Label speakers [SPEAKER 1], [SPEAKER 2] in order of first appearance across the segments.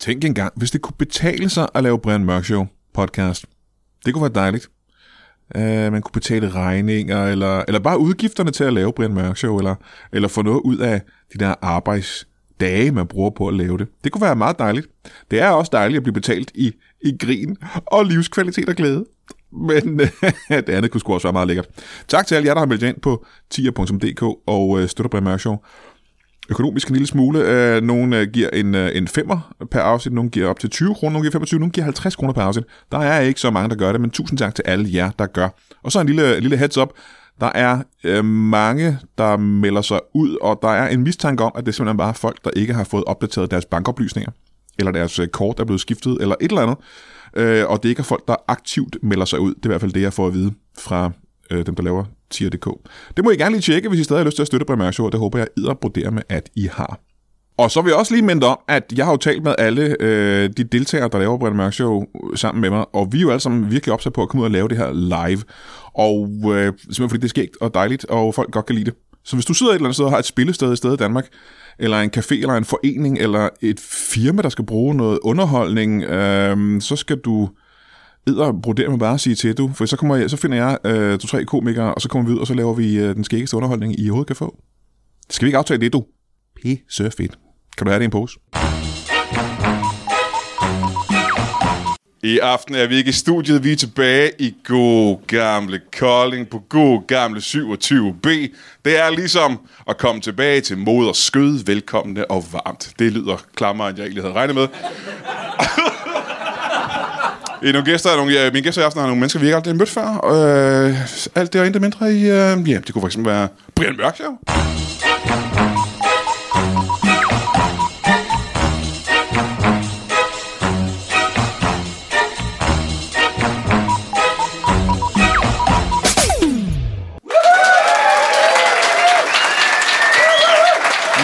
[SPEAKER 1] Tænk engang, hvis det kunne betale sig at lave Brian Mørk Show podcast. Det kunne være dejligt. Uh, man kunne betale regninger, eller, eller bare udgifterne til at lave Brian Mørk Show, eller, eller få noget ud af de der arbejdsdage, man bruger på at lave det. Det kunne være meget dejligt. Det er også dejligt at blive betalt i, i grin og livskvalitet og glæde. Men det andet kunne sgu også være meget lækkert. Tak til alle jer, der har meldt jer ind på tier.dk og øh, støtter Brian Mørk Show økonomisk en lille smule. Øh, nogle øh, giver en, øh, en femmer per afsnit, nogle giver op til 20 kroner, nogle giver 25, nogle giver 50 kroner per afsnit. Der er ikke så mange, der gør det, men tusind tak til alle jer, der gør. Og så en lille, lille heads up. Der er øh, mange, der melder sig ud, og der er en mistanke om, at det simpelthen bare er folk, der ikke har fået opdateret deres bankoplysninger, eller deres øh, kort er blevet skiftet, eller et eller andet. Øh, og det ikke er folk, der aktivt melder sig ud. Det er i hvert fald det, jeg får at vide fra øh, dem, der laver tier.dk. Det må I gerne lige tjekke, hvis I stadig har lyst til at støtte Brian Show, og det håber jeg idder med, at I har. Og så vil jeg også lige minde om, at jeg har jo talt med alle øh, de deltagere, der laver Brian Mørk Show øh, sammen med mig, og vi er jo alle sammen virkelig opsat på at komme ud og lave det her live. Og øh, simpelthen fordi det er skægt og dejligt, og folk godt kan lide det. Så hvis du sidder et eller andet sted og har et spillested et sted i Danmark, eller en café, eller en forening, eller et firma, der skal bruge noget underholdning, øh, så skal du edder broder med bare at sige til, du. For så, kommer jeg, så finder jeg øh, to-tre komikere, og så kommer vi ud, og så laver vi øh, den skæggeste underholdning, I overhovedet kan få. Skal vi ikke aftale det, du? Pisse fedt. Kan du have det i en pose? I aften er vi ikke i studiet, vi er tilbage i god gamle Kolding på god gamle 27B. Det er ligesom at komme tilbage til moder skød, velkommende og varmt. Det lyder klammere, end jeg egentlig havde regnet med. I er nogle gæster, er nogle, ja, mine gæster i aften har nogle mennesker, vi ikke aldrig har mødt før. Øh, alt det og intet mindre i... Øh, ja, det kunne fx være Brian Mørk, jo.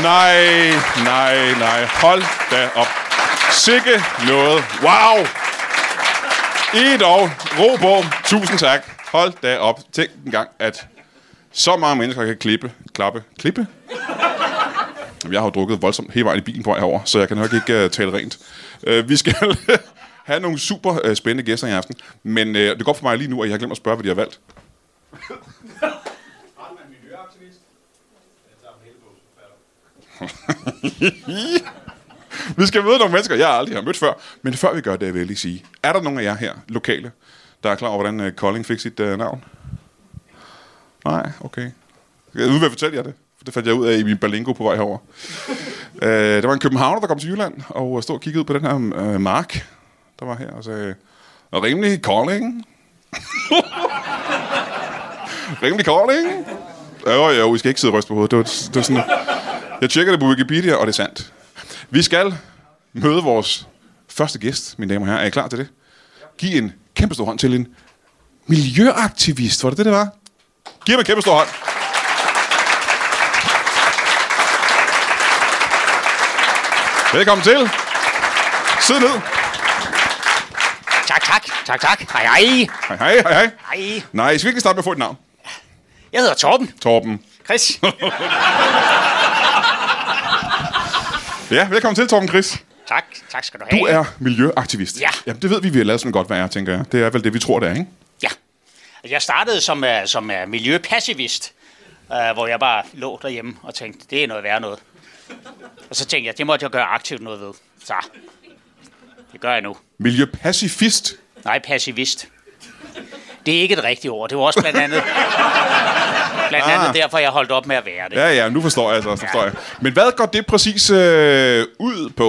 [SPEAKER 1] Nej, nej, nej. Hold da op. Sikke noget. Wow! I dog. Ro på. Tusind tak. Hold da op. Tænk en gang, at så mange mennesker kan klippe, klappe, klippe. Jamen, Jeg har jo drukket voldsomt hele vejen i bilen på vej herover, så jeg kan nok ikke uh, tale rent. Uh, vi skal have nogle super uh, spændende gæster i aften, men uh, det går for mig lige nu, at jeg har glemt at spørge, hvad de har valgt. Vi skal møde nogle mennesker, jeg aldrig har mødt før. Men før vi gør det, vil jeg lige sige, er der nogen af jer her, lokale, der er klar over, hvordan øh, Kolding fik sit øh, navn? Nej, okay. Jeg ved, hvad fortælle jer det. For det fandt jeg ud af i min balingo på vej herover. øh, der var en københavner, der kom til Jylland og øh, stod og kiggede ud på den her øh, mark, der var her, og sagde, rimelig Kolding. rimelig Kolding. Jo, jo, vi skal ikke sidde og ryste på hovedet. Det var, det var sådan, jeg tjekker det på Wikipedia, og det er sandt. Vi skal møde vores første gæst, mine damer og herrer. Er I klar til det? Giv en kæmpe stor hånd til en miljøaktivist. Var det det, det var? Giv ham en kæmpe stor hånd. Velkommen til. Sid ned.
[SPEAKER 2] Tak, tak, tak, tak. Hej, hej.
[SPEAKER 1] Hej, hej, hej, hej.
[SPEAKER 2] Hej.
[SPEAKER 1] Nej, I skal virkelig starte med at få et navn.
[SPEAKER 2] Jeg hedder Torben.
[SPEAKER 1] Torben.
[SPEAKER 2] Chris.
[SPEAKER 1] Ja, velkommen til, Torben Chris.
[SPEAKER 2] tak, tak skal du have.
[SPEAKER 1] Du er miljøaktivist.
[SPEAKER 2] Ja.
[SPEAKER 1] Jamen, det ved vi, vi har lavet sådan godt, hvad er, tænker jeg. Det er vel det, vi tror, det er, ikke?
[SPEAKER 2] Ja. Jeg startede som, uh, som uh, miljøpassivist, uh, hvor jeg bare lå derhjemme og tænkte, det er noget værre noget. Og så tænkte jeg, det måtte jeg gøre aktivt noget ved. Så det gør jeg nu.
[SPEAKER 1] Miljøpacifist.
[SPEAKER 2] Nej, passivist. Det er ikke et rigtigt ord. Det var også blandt andet, blandt andet
[SPEAKER 1] Ah.
[SPEAKER 2] derfor, jeg holdt op med at være det.
[SPEAKER 1] Ja, ja, nu forstår jeg så, altså, forstår jeg. Men hvad går det præcis øh, ud på?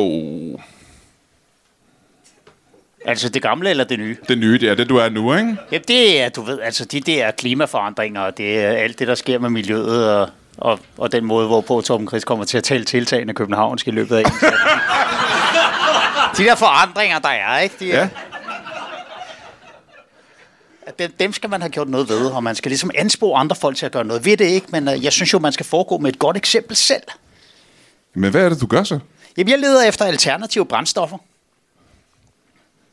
[SPEAKER 2] Altså det gamle eller det nye?
[SPEAKER 1] Det nye, det er det, du er nu, ikke?
[SPEAKER 2] Ja, det er, du ved, altså de der klimaforandringer, og det er alt det, der sker med miljøet, og, og, og den måde, hvorpå Torben Chris kommer til at tale tiltagende københavnsk i løbet af en time. De der forandringer, der er, ikke? De,
[SPEAKER 1] Ja.
[SPEAKER 2] er- dem, dem skal man have gjort noget ved, og man skal ligesom anspore andre folk til at gøre noget ved det, ikke? Men øh, jeg synes jo, man skal foregå med et godt eksempel selv.
[SPEAKER 1] Men hvad er det, du gør så?
[SPEAKER 2] Jamen, jeg leder efter alternative brændstoffer.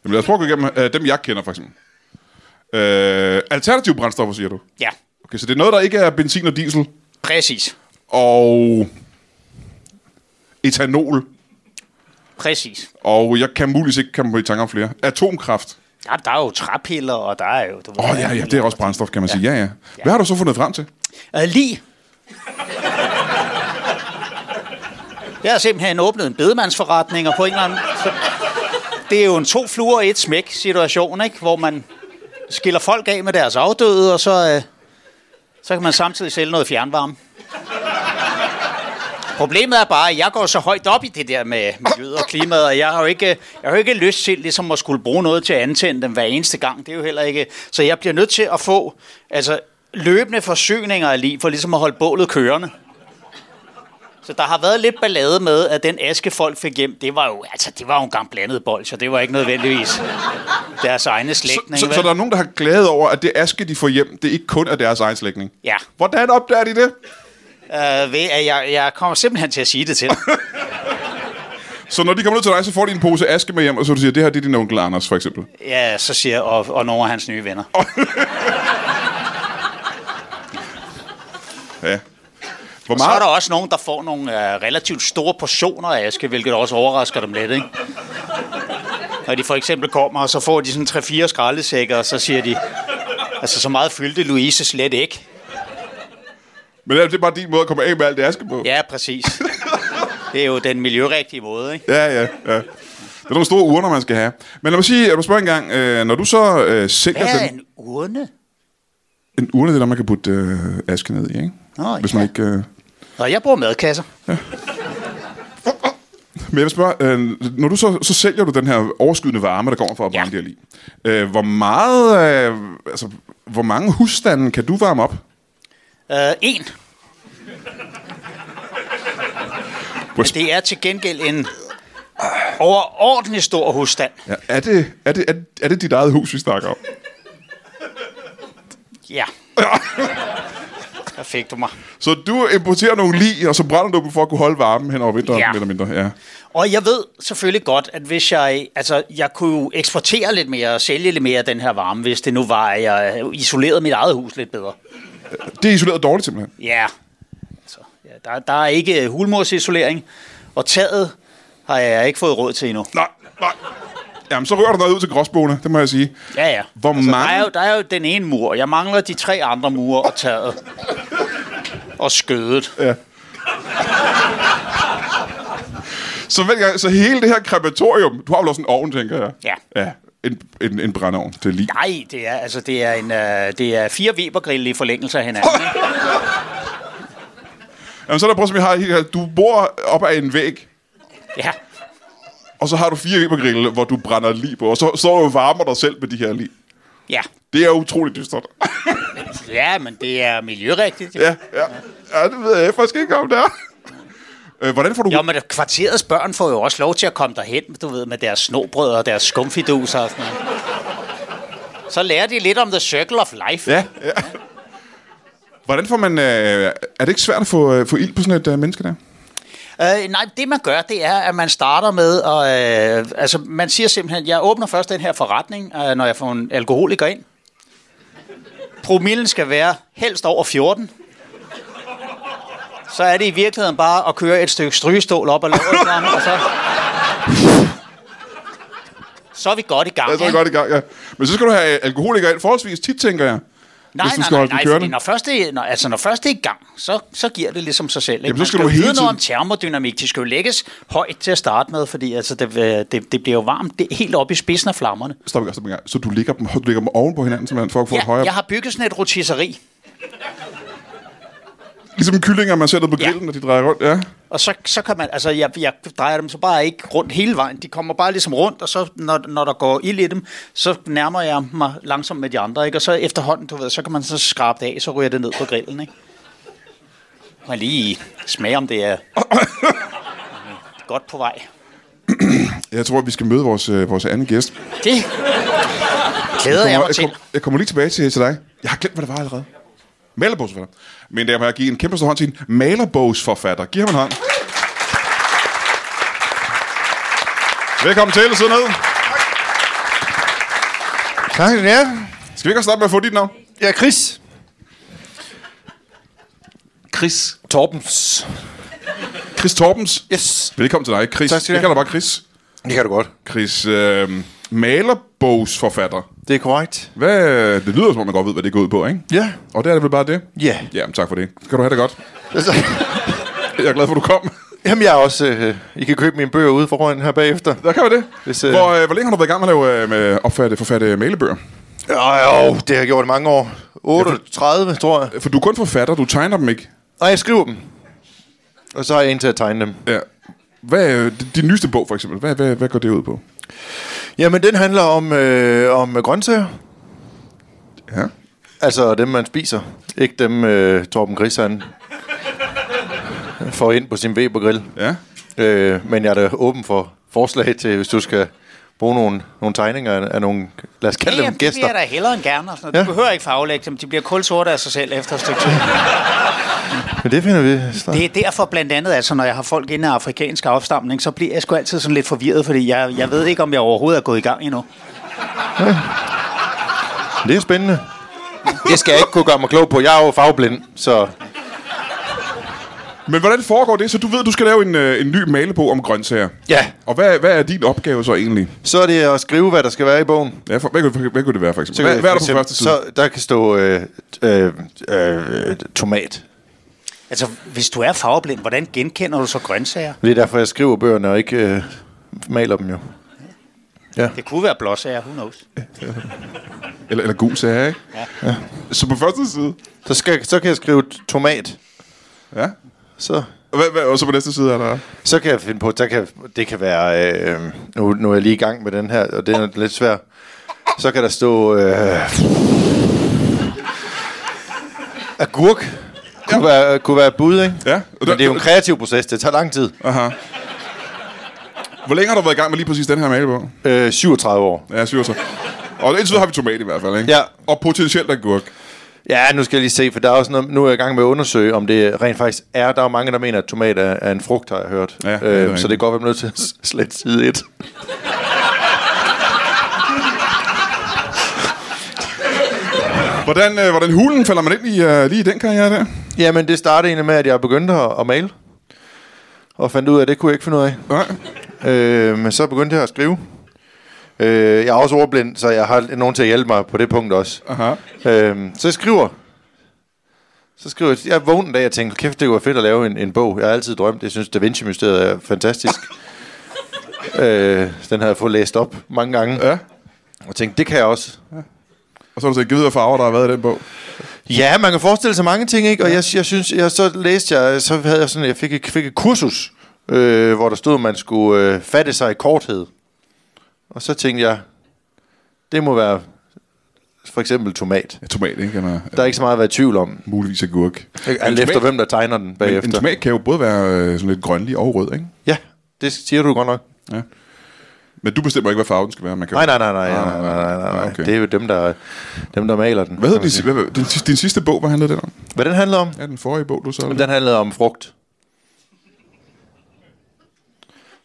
[SPEAKER 1] Jamen, lad os prøve at gå igennem øh, dem, jeg kender, for eksempel. Øh, alternative brændstoffer, siger du?
[SPEAKER 2] Ja,
[SPEAKER 1] Okay, så det er noget, der ikke er benzin og diesel,
[SPEAKER 2] præcis.
[SPEAKER 1] og etanol.
[SPEAKER 2] Præcis.
[SPEAKER 1] Og jeg kan muligvis ikke komme i tanke om flere. Atomkraft.
[SPEAKER 2] Der, der er jo træpiller, og der er jo...
[SPEAKER 1] Åh, oh, ja, ja, det er også brændstof, kan man ja. sige. Ja, ja. Hvad har du så fundet frem til?
[SPEAKER 2] Uh, lige. Jeg har simpelthen åbnet en bedemandsforretning, og på en eller anden... Så det er jo en to fluer i et smæk situation, ikke? Hvor man skiller folk af med deres afdøde, og så, øh, så kan man samtidig sælge noget fjernvarme. Problemet er bare, at jeg går så højt op i det der med miljøet og klimaet, og jeg har jo ikke, jeg har jo ikke lyst til ligesom at skulle bruge noget til at antænde dem hver eneste gang. Det er jo heller ikke... Så jeg bliver nødt til at få altså, løbende forsyninger af liv, for ligesom at holde bålet kørende. Så der har været lidt ballade med, at den aske folk fik hjem, det var jo, altså, det var jo en gang blandet bold, så det var ikke nødvendigvis deres egne slægtning.
[SPEAKER 1] Så, så, så der er nogen, der har glædet over, at det aske, de får hjem, det er ikke kun af deres egen slægtning.
[SPEAKER 2] Ja.
[SPEAKER 1] Hvordan opdager de det?
[SPEAKER 2] Øh, ved, at jeg, jeg kommer simpelthen til at sige det til dig.
[SPEAKER 1] Så når de kommer ned til dig, så får de en pose aske med hjem, og så du siger, det her det er din onkel Anders, for eksempel.
[SPEAKER 2] Ja, så siger jeg, og, og nogle af hans nye venner.
[SPEAKER 1] Ja. Hvor
[SPEAKER 2] Og så er
[SPEAKER 1] meget,
[SPEAKER 2] der også nogen, der får nogle øh, relativt store portioner af aske, hvilket også overrasker dem lidt, ikke? Når de for eksempel kommer, og så får de sådan 3-4 skraldesækker, og så siger de, altså så meget fyldte Louise slet ikke.
[SPEAKER 1] men det er bare din måde at komme af med alt det aske på.
[SPEAKER 2] Ja, præcis. Det er jo den miljørigtige måde, ikke?
[SPEAKER 1] Ja, ja, ja. Det er nogle store urner, man skal have. Men lad mig sige, at du spørger engang, øh, når du så øh, sælger
[SPEAKER 2] Hvad er
[SPEAKER 1] den,
[SPEAKER 2] en urne?
[SPEAKER 1] en urne, det er der, man kan putte øh, aske ned i, ikke?
[SPEAKER 2] Nå,
[SPEAKER 1] Hvis man
[SPEAKER 2] ja.
[SPEAKER 1] ikke... Øh,
[SPEAKER 2] Nå, jeg bruger madkasser.
[SPEAKER 1] Men jeg vil spørge, øh, når du så, så sælger du den her overskydende varme, der kommer fra at brænde
[SPEAKER 2] Ja.
[SPEAKER 1] ja. lige. Øh, hvor meget, øh, altså, hvor mange husstande kan du varme op?
[SPEAKER 2] Øh, en.
[SPEAKER 1] Hvor
[SPEAKER 2] Men det er til gengæld en overordentlig stor husstand.
[SPEAKER 1] Ja, er, det, er, det, er, det- er det dit eget hus, vi snakker om?
[SPEAKER 2] Ja. Der fik du mig.
[SPEAKER 1] Så du importerer nogle lig, og så brænder du dem for at kunne holde varmen hen over vinteren,
[SPEAKER 2] Ja.
[SPEAKER 1] ja. eller mindre. Ja.
[SPEAKER 2] Og jeg ved selvfølgelig godt, at hvis jeg... Altså, jeg kunne jo eksportere lidt mere og sælge lidt mere af den her varme, hvis det nu var, at jeg isolerede mit eget hus lidt bedre.
[SPEAKER 1] Det er isoleret dårligt, simpelthen.
[SPEAKER 2] Ja. Altså, ja der, der er ikke hulmorsisolering. Og taget har jeg ikke fået råd til endnu.
[SPEAKER 1] Nej, nej. Jamen, så rører du noget ud til gråsbogene, det må jeg sige.
[SPEAKER 2] Ja, ja.
[SPEAKER 1] Hvor mange-
[SPEAKER 2] Der er, jo, der er jo den ene mur. Jeg mangler de tre andre mure og taget. Og skødet.
[SPEAKER 1] Ja. Så, vent engang, så hele det her krematorium, du har jo også en ovn, tænker jeg.
[SPEAKER 2] Ja.
[SPEAKER 1] ja en, en, en brændeovn til lige.
[SPEAKER 2] Nej, det er, altså, det er, en, øh, det er fire Webergrille i forlængelse af hinanden. ikke?
[SPEAKER 1] Jamen, så er der prøv, som jeg har helt her. Du bor op ad en væg,
[SPEAKER 2] ja.
[SPEAKER 1] og så har du fire Webergrille, hvor du brænder lige på, og så, så du varmer dig selv med de her lige.
[SPEAKER 2] Ja.
[SPEAKER 1] Det er utroligt dystert.
[SPEAKER 2] ja, men det er miljørigtigt. Ja.
[SPEAKER 1] ja, ja, ja, det ved jeg faktisk ikke om det er. Øh, hvordan får du...
[SPEAKER 2] Jo, men kvarterets børn får jo også lov til at komme derhen, du ved, med deres snobrød og deres skumfiduser og sådan noget. Så lærer de lidt om The Circle of Life.
[SPEAKER 1] Ja, ja. Hvordan får man... Øh, er det ikke svært at få, øh, få ild på sådan et øh, menneske der?
[SPEAKER 2] Øh, nej, det man gør, det er, at man starter med at... Øh, altså, man siger simpelthen, jeg åbner først den her forretning, øh, når jeg får en alkoholiker ind. Promillen skal være helst over 14. Så er det i virkeligheden bare at køre et stykke strygestål op og lave et og så... Så er vi godt i gang.
[SPEAKER 1] Jeg tror jeg
[SPEAKER 2] ikke?
[SPEAKER 1] godt i gang, ja. Men så skal du have alkoholikere ind forholdsvis tit, tænker jeg.
[SPEAKER 2] Nej,
[SPEAKER 1] hvis du
[SPEAKER 2] nej,
[SPEAKER 1] skal
[SPEAKER 2] nej,
[SPEAKER 1] holde den
[SPEAKER 2] nej,
[SPEAKER 1] kørende.
[SPEAKER 2] fordi når først, det, når, altså, når først det er i gang, så, så giver det ligesom sig selv. Ikke?
[SPEAKER 1] Jamen, så
[SPEAKER 2] Man
[SPEAKER 1] skal
[SPEAKER 2] jo
[SPEAKER 1] du hele
[SPEAKER 2] vide noget om
[SPEAKER 1] tiden-
[SPEAKER 2] termodynamik. De skal jo lægges højt til at starte med, fordi altså, det, øh, det, det bliver jo varmt det, er helt op i spidsen af flammerne.
[SPEAKER 1] Stop, stop, stop, en gang. Så du ligger dem, du ligger dem oven på hinanden, simpelthen, for at få et højere...
[SPEAKER 2] Ja, jeg har bygget sådan et rotisseri,
[SPEAKER 1] Ligesom kyllinger, man sætter på
[SPEAKER 2] Ja.
[SPEAKER 1] grillen, ja. og de drejer rundt. Ja.
[SPEAKER 2] og så, så kan man, altså jeg, jeg drejer dem så bare ikke rundt hele vejen. De kommer bare ligesom rundt, og så når, når der går ild i dem, så nærmer jeg mig langsomt med de andre, ikke? og så efterhånden, du ved, så kan man så skrabe det af, så ryger det ned på grillen, ikke? Man lige smage, om det er godt på vej.
[SPEAKER 1] Jeg tror, at vi skal møde vores, øh, vores anden gæst.
[SPEAKER 2] Det glæder jeg mig
[SPEAKER 1] jeg,
[SPEAKER 2] til.
[SPEAKER 1] kom, jeg kommer lige tilbage til, til dig. Jeg har glemt, hvad det var allerede. Malerbogsforfatter. Men der må jeg give en kæmpe stor hånd til en malerbogsforfatter. Giv ham en hånd. Velkommen til. Sid ned.
[SPEAKER 3] Tak skal du have.
[SPEAKER 1] Skal vi ikke også starte med at få dit navn?
[SPEAKER 3] Jeg er Chris.
[SPEAKER 1] Chris.
[SPEAKER 3] Torbens.
[SPEAKER 1] Chris Torbens.
[SPEAKER 3] Yes.
[SPEAKER 1] Velkommen til dig, Chris.
[SPEAKER 3] Tak skal du
[SPEAKER 1] jeg
[SPEAKER 3] have.
[SPEAKER 1] kalder dig bare Chris.
[SPEAKER 3] Det kan du godt.
[SPEAKER 1] Chris, øh, malerbogsforfatter.
[SPEAKER 3] Det er korrekt.
[SPEAKER 1] Hvad, det lyder, som om man godt ved, hvad det går ud på, ikke?
[SPEAKER 3] Ja.
[SPEAKER 1] Og det er det vel bare det?
[SPEAKER 3] Ja.
[SPEAKER 1] Ja, men tak for det. Kan du have det godt.
[SPEAKER 3] Altså,
[SPEAKER 1] Jeg er glad for, at du kom.
[SPEAKER 3] jamen, jeg er også... Øh, I kan købe mine bøger ude foran her bagefter.
[SPEAKER 1] Der kan man det.
[SPEAKER 3] Hvis, øh,
[SPEAKER 1] hvor, øh, hvor længe har du været i gang med at lave, øh, med opfatte, forfatte malebøger?
[SPEAKER 3] Jo, jo, det har jeg gjort i mange år. 38, tror jeg.
[SPEAKER 1] For du er kun forfatter, du tegner dem ikke.
[SPEAKER 3] Og jeg skriver dem. Og så har jeg en til at tegne dem.
[SPEAKER 1] Ja. Hvad er øh, din nyeste bog, for eksempel? Hvad, hvad, hvad går det ud på?
[SPEAKER 3] Jamen, den handler om, øh, om grøntsager.
[SPEAKER 1] Ja.
[SPEAKER 3] Altså dem, man spiser. Ikke dem, øh, Torben Chris, han får ind på sin Weber-grill.
[SPEAKER 1] Ja.
[SPEAKER 3] Øh, men jeg er da åben for forslag til, hvis du skal bruge nogle, nogle tegninger af, af nogle, lad os kalde
[SPEAKER 2] Jamen,
[SPEAKER 3] dem
[SPEAKER 2] det bliver
[SPEAKER 3] gæster.
[SPEAKER 2] jeg da hellere end gerne. Og sådan noget. Du
[SPEAKER 3] Ja.
[SPEAKER 2] behøver ikke faglægge dem. De bliver kulsorte af sig selv efter et stykke tid.
[SPEAKER 3] Men det finder vi snart.
[SPEAKER 2] Det er derfor blandt andet, altså, når jeg har folk inde af afrikansk afstamning, så bliver jeg sgu altid sådan lidt forvirret, fordi jeg, jeg ved ikke, om jeg overhovedet er gået i gang endnu.
[SPEAKER 3] det er spændende. Det skal jeg ikke kunne gøre mig klog på. Jeg er jo fagblind, så
[SPEAKER 1] Men hvordan foregår det? Så du ved, du skal lave en, øh, en ny malebog om grøntsager.
[SPEAKER 3] ja.
[SPEAKER 1] Og hvad, hvad er din opgave så egentlig?
[SPEAKER 3] Så er det at skrive, hvad der skal være i bogen.
[SPEAKER 1] Ja, for, hvad, kunne, hvad kunne det være, for eksempel?
[SPEAKER 3] Så
[SPEAKER 1] Hvad,
[SPEAKER 3] kan-
[SPEAKER 1] hvad er der
[SPEAKER 3] for
[SPEAKER 1] på
[SPEAKER 3] eksempel-
[SPEAKER 1] første side?
[SPEAKER 3] Så der kan stå øh, øh, øh, tomat.
[SPEAKER 2] Altså, hvis du er farveblind, hvordan genkender du så grøntsager?
[SPEAKER 3] Det er derfor, jeg skriver bøgerne og ikke øh, maler dem jo.
[SPEAKER 2] Det kunne være blåsager, who knows.
[SPEAKER 1] Eller, eller god sager, ikke? Ja. Så på første side?
[SPEAKER 3] Så, skal, så kan jeg skrive tomat.
[SPEAKER 1] Ja.
[SPEAKER 3] Så,
[SPEAKER 1] Og, hvad, hvad, og så på næste side er der...
[SPEAKER 3] så kan jeg finde på, der kan, det kan være, øh, nu, nu er jeg lige i gang med den her, og den er lidt svær. Så kan der stå, øh, agurk. Kunne, være, kunne være et bud, ikke?
[SPEAKER 1] Ja.
[SPEAKER 3] Men det er jo en kreativ proces, det tager lang tid.
[SPEAKER 1] Aha. Hvor længe har du været i gang med lige præcis den her malebog?
[SPEAKER 3] Øh, 37 år.
[SPEAKER 1] Ja, syv så. Og indtil videre har vi tomat i hvert fald, ikke?
[SPEAKER 3] Ja.
[SPEAKER 1] Og potentielt agurk.
[SPEAKER 3] Ja, nu skal jeg lige se, for der er også noget, nu er jeg i gang med at undersøge, om det rent faktisk er. Der er jo mange, der mener, at tomat er, er en frugt, har jeg hørt.
[SPEAKER 1] Ja, det er
[SPEAKER 3] øh,
[SPEAKER 1] rigtigt.
[SPEAKER 3] så det går godt, at man er nødt til at s- slette side 1.
[SPEAKER 1] Hvordan, øh, hvordan hulen falder man ind i øh, lige i den karriere der?
[SPEAKER 3] Jamen, det startede egentlig med, at jeg begyndte at, at male. Og fandt ud af, at det kunne jeg ikke finde ud af.
[SPEAKER 1] Nej.
[SPEAKER 3] Øh, men så begyndte jeg at skrive. Øh, jeg er også ordblind, så jeg har nogen til at hjælpe mig på det punkt også.
[SPEAKER 1] Aha.
[SPEAKER 3] Øh, så jeg skriver. Så skriver jeg. Jeg vågnede en dag og tænkte, kæft, det kunne være fedt at lave en, en bog. Jeg har altid drømt. Jeg synes, Da Vinci-mysteriet er fantastisk. øh, den har jeg fået læst op mange gange.
[SPEAKER 1] Ja.
[SPEAKER 3] Og tænkte, det kan jeg også.
[SPEAKER 1] Og så har du sagt, givet hvad farver, der har været i den bog.
[SPEAKER 3] Ja, man kan forestille sig mange ting, ikke? Og jeg, jeg synes, jeg, så læste jeg, så havde jeg sådan, jeg fik et, fik et kursus, øh, hvor der stod, at man skulle øh, fatte sig i korthed. Og så tænkte jeg, det må være for eksempel tomat.
[SPEAKER 1] Ja, tomat, ikke? Eller,
[SPEAKER 3] Der er ikke så meget at være i tvivl om.
[SPEAKER 1] muligvis agurk.
[SPEAKER 3] Alt efter, hvem der tegner den
[SPEAKER 1] en, en
[SPEAKER 3] bagefter.
[SPEAKER 1] tomat kan jo både være øh, sådan lidt grønlig og rød, ikke?
[SPEAKER 3] Ja, det siger du godt nok.
[SPEAKER 1] Ja. Men du bestemmer ikke, hvad farven skal være. Man kan jo-
[SPEAKER 3] Nej, nej, nej, nej, nej, nej, nej, nej, nej.
[SPEAKER 1] Ah, Okay.
[SPEAKER 3] Det er jo dem, der, dem, der maler den.
[SPEAKER 1] Hvad hedder
[SPEAKER 3] kan man
[SPEAKER 1] din,
[SPEAKER 3] sige.
[SPEAKER 1] si- hvad, hvad- din, sidste- din sidste bog? Hvad handlede den om?
[SPEAKER 3] Hvad den handler om?
[SPEAKER 1] Ja, den forrige bog, du så...
[SPEAKER 3] Jamen, Den handlede om frugt.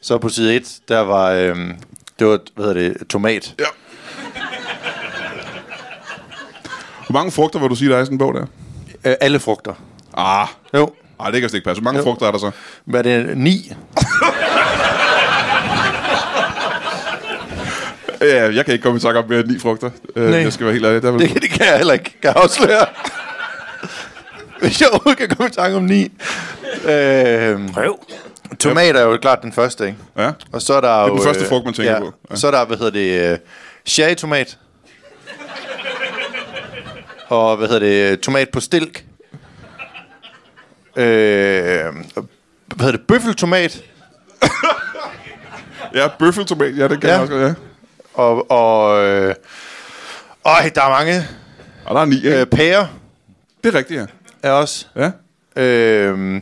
[SPEAKER 3] Så på side 1, der var, øhm, det var, hvad hedder det, tomat.
[SPEAKER 1] Ja. Hvor mange frugter vil du sige, der er i sådan en bog der?
[SPEAKER 3] Øh, alle frugter.
[SPEAKER 1] Ah,
[SPEAKER 3] Jo.
[SPEAKER 1] Ej, det kan slet ikke passe. Hvor mange frugter er der så?
[SPEAKER 3] Var det 9?
[SPEAKER 1] Ja, jeg kan ikke komme i tanke om mere end ni frugter. Øh,
[SPEAKER 3] Nej.
[SPEAKER 1] Jeg skal være helt ærlig. Der er vel...
[SPEAKER 3] Det, det kan jeg heller ikke, kan jeg afsløre. Hvis jeg overhovedet kan komme i tanke om 9. Øhm,
[SPEAKER 2] Prøv.
[SPEAKER 3] tomat er jo klart den første, ikke?
[SPEAKER 1] Ja.
[SPEAKER 3] Og så er der det er jo, øh,
[SPEAKER 1] den første frugt, man tænker
[SPEAKER 3] ja,
[SPEAKER 1] på. Ja.
[SPEAKER 3] Så er der, hvad hedder det, øh, cherrytomat. Og hvad hedder det, øh, tomat på stilk. Øh, hvad hedder det, bøffeltomat.
[SPEAKER 1] ja, bøffeltomat. Ja, det kan ja.
[SPEAKER 3] Ja.
[SPEAKER 1] jeg også godt, ja.
[SPEAKER 3] Og, og øh, øj, der er mange.
[SPEAKER 1] Og der er ni, ikke?
[SPEAKER 3] Øh, pærer
[SPEAKER 1] det er rigtigt, ja.
[SPEAKER 3] er også.
[SPEAKER 1] Ja,
[SPEAKER 3] Øh,